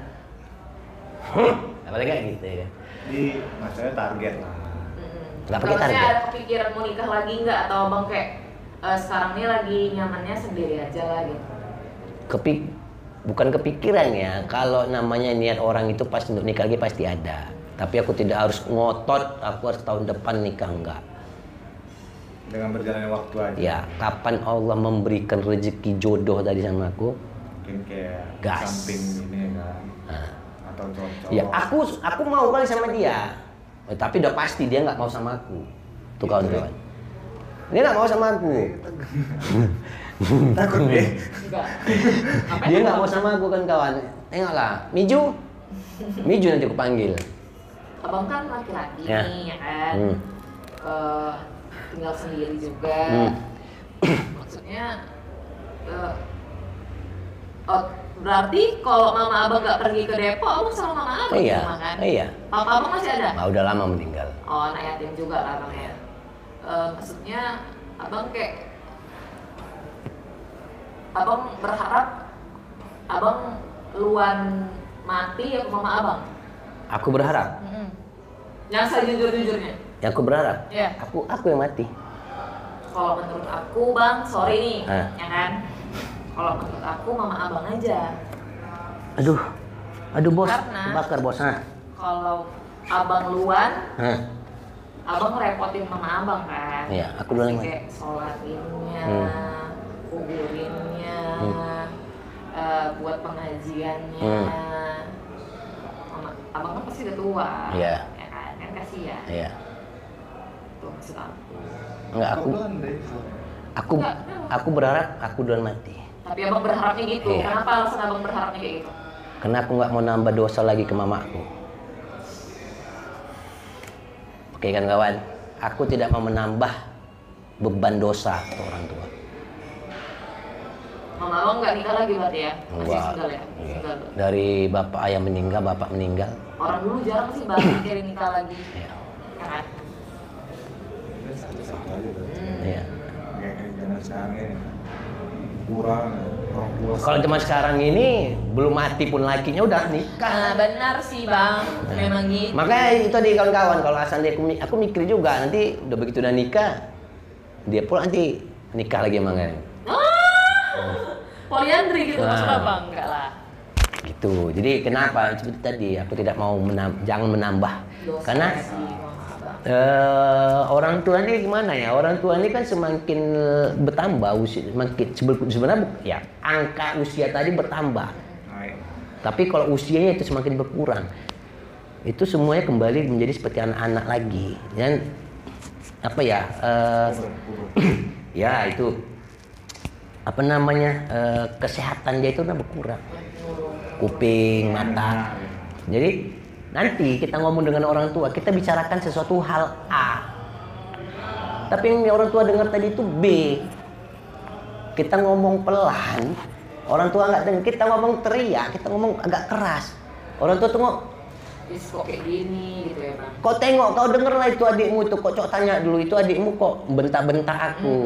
Nah, paling nggak gitu ya. Jadi maksudnya target lah. Mm-mm. Nggak pakai Maksudnya target. ada kepikiran mau nikah lagi nggak atau abang kayak eh, sekarang ini lagi nyamannya sendiri aja lah gitu Kepik, bukan kepikiran ya. Kalau namanya niat orang itu pasti untuk nikah lagi pasti ada. Tapi aku tidak harus ngotot, aku harus tahun depan nikah enggak. Dengan berjalannya waktu aja. Ya, kapan Allah memberikan rezeki jodoh tadi sama aku? Mungkin kayak Gas. samping ini kan. Nah, Atau cocok. Ya, aku aku mau kali sama dia. Eh, tapi udah pasti dia nggak mau sama aku. Tuh kawan-kawan. Dia nggak mau sama aku. Takut deh. enggak Dia nggak mau sama aku kan kawan. Tengoklah, Miju. Miju nanti aku panggil. abang kan laki-laki Ya. nih ya kan Hmm. Eh, tinggal sendiri juga Hmm. maksudnya eh, oh, berarti kalau mama abang nggak pergi ke Depok abang sama mama abang Iya, di rumah kan iya. papa abang masih ada Ah, udah lama meninggal. oh anak yatim juga lah abang ya Eh, maksudnya abang kayak abang berharap abang luan mati ya ke mama abang Aku berharap. yang sejujur-jujurnya Ya, aku berharap. Iya. Aku aku yang mati. kalau menurut aku bang sorry nih Ah. ya kan kalau menurut aku mama abang aja Aduh. Aduh bos, Karena- bakar bos. Hah. kalau abang luan Hah. abang ngerepotin mama abang kan Iya, aku duluan yang Pasti kayak sholatinnya Hmm. kuburinnya Hmm. eh, buat pengajiannya Hmm. Mama, abang kan pasti udah tua Iya. ya kan kan kasihan Iya. tuh maksud aku Enggak aku Kebetulan deh. aku aku berharap aku duluan mati. tapi abang berharapnya gitu Iya. kenapa alasan abang berharapnya kayak gitu Karena aku nggak mau nambah dosa lagi ke mamaku. Oke kan kawan, aku tidak mau menambah beban dosa ke orang tua. Mama abang nggak nikah lagi berarti ya? Masih Enggak. single ya? Iya. Single. Dari bapak ayah meninggal, bapak meninggal. Orang dulu jarang sih banget dari nikah lagi. Iya. Ya kan? Sama gitu. Hmm. Iya. Kayak kayak zaman sekarang ini kurang orang tua. Kalau zaman sekarang ini belum mati pun lakinya udah nikah. Nah, benar sih bang, memang gitu. Makanya itu di kawan-kawan kalau asal dia aku, mi- aku mikir juga nanti udah begitu udah nikah dia pula nanti nikah lagi emang kan. Ah! Poliandri gitu maksud Nah. abang? Enggak lah. Gitu. Jadi kenapa seperti tadi aku tidak mau menam- jangan menambah Dosa karena sih, maksud abang. eh, orang tua ini gimana ya orang tua ini kan semakin bertambah usia semakin sebe- sebenarnya bu- ya angka usia tadi bertambah Naik. Tapi kalau usianya itu semakin berkurang, itu semuanya kembali menjadi seperti anak-anak lagi. Dan apa ya? eh, ya itu apa namanya eh, kesehatan dia itu udah berkurang, kuping, mata. Jadi nanti kita ngomong dengan orang tua, kita bicarakan sesuatu hal A. Tapi yang orang tua dengar tadi itu B. Kita ngomong pelan, orang tua nggak dengar. Kita ngomong teriak, kita ngomong agak keras. Orang tua tengok, Is kok kayak gini gitu ya bang. kau tengok, kau denger lah itu adikmu itu. Kok cok tanya dulu itu adikmu kok bentak-bentak aku.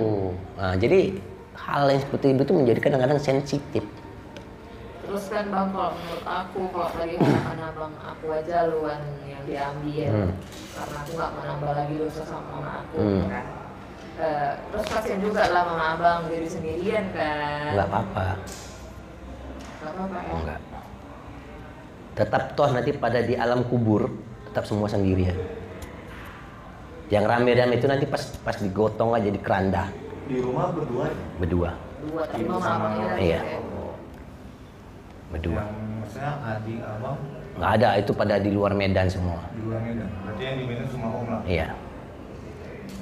Nah, jadi hal yang seperti itu tuh menjadi kadang-kadang sensitif. Terus kan bang, kalau menurut aku, kalau lagi anak-anak bang, aku aja luan yang diambil Hmm. karena aku nggak mau nambah lagi dosa sama mama aku Hmm. kan. Eh, terus kasihan juga lah mama abang jadi sendirian kan. Nggak apa-apa, Nggak apa-apa ya. enggak. Tetap toh nanti pada di alam kubur tetap semua sendirian. Yang rame-rame itu nanti pas pas digotong aja di keranda Di rumah berdua ya? berdua, Dua tapi mama abangnya lagi Iya. kayak, berdua. Yang maksudnya adik abang Nggak ada, itu pada di luar Medan semua. di luar Medan. Berarti yang di Medan cuma om lah. Iya.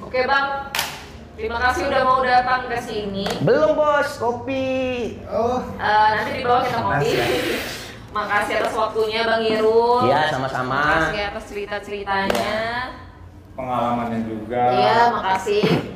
Oke bang, terima kasih udah mau datang ke sini. Belum bos, kopi. Oh. Eh, nanti di bawah kita ngopi. Makasih atas waktunya Bang ya. Irul. Iya, sama-sama. ya, Makasih atas cerita-ceritanya. Pengalamannya juga. Iya, makasih.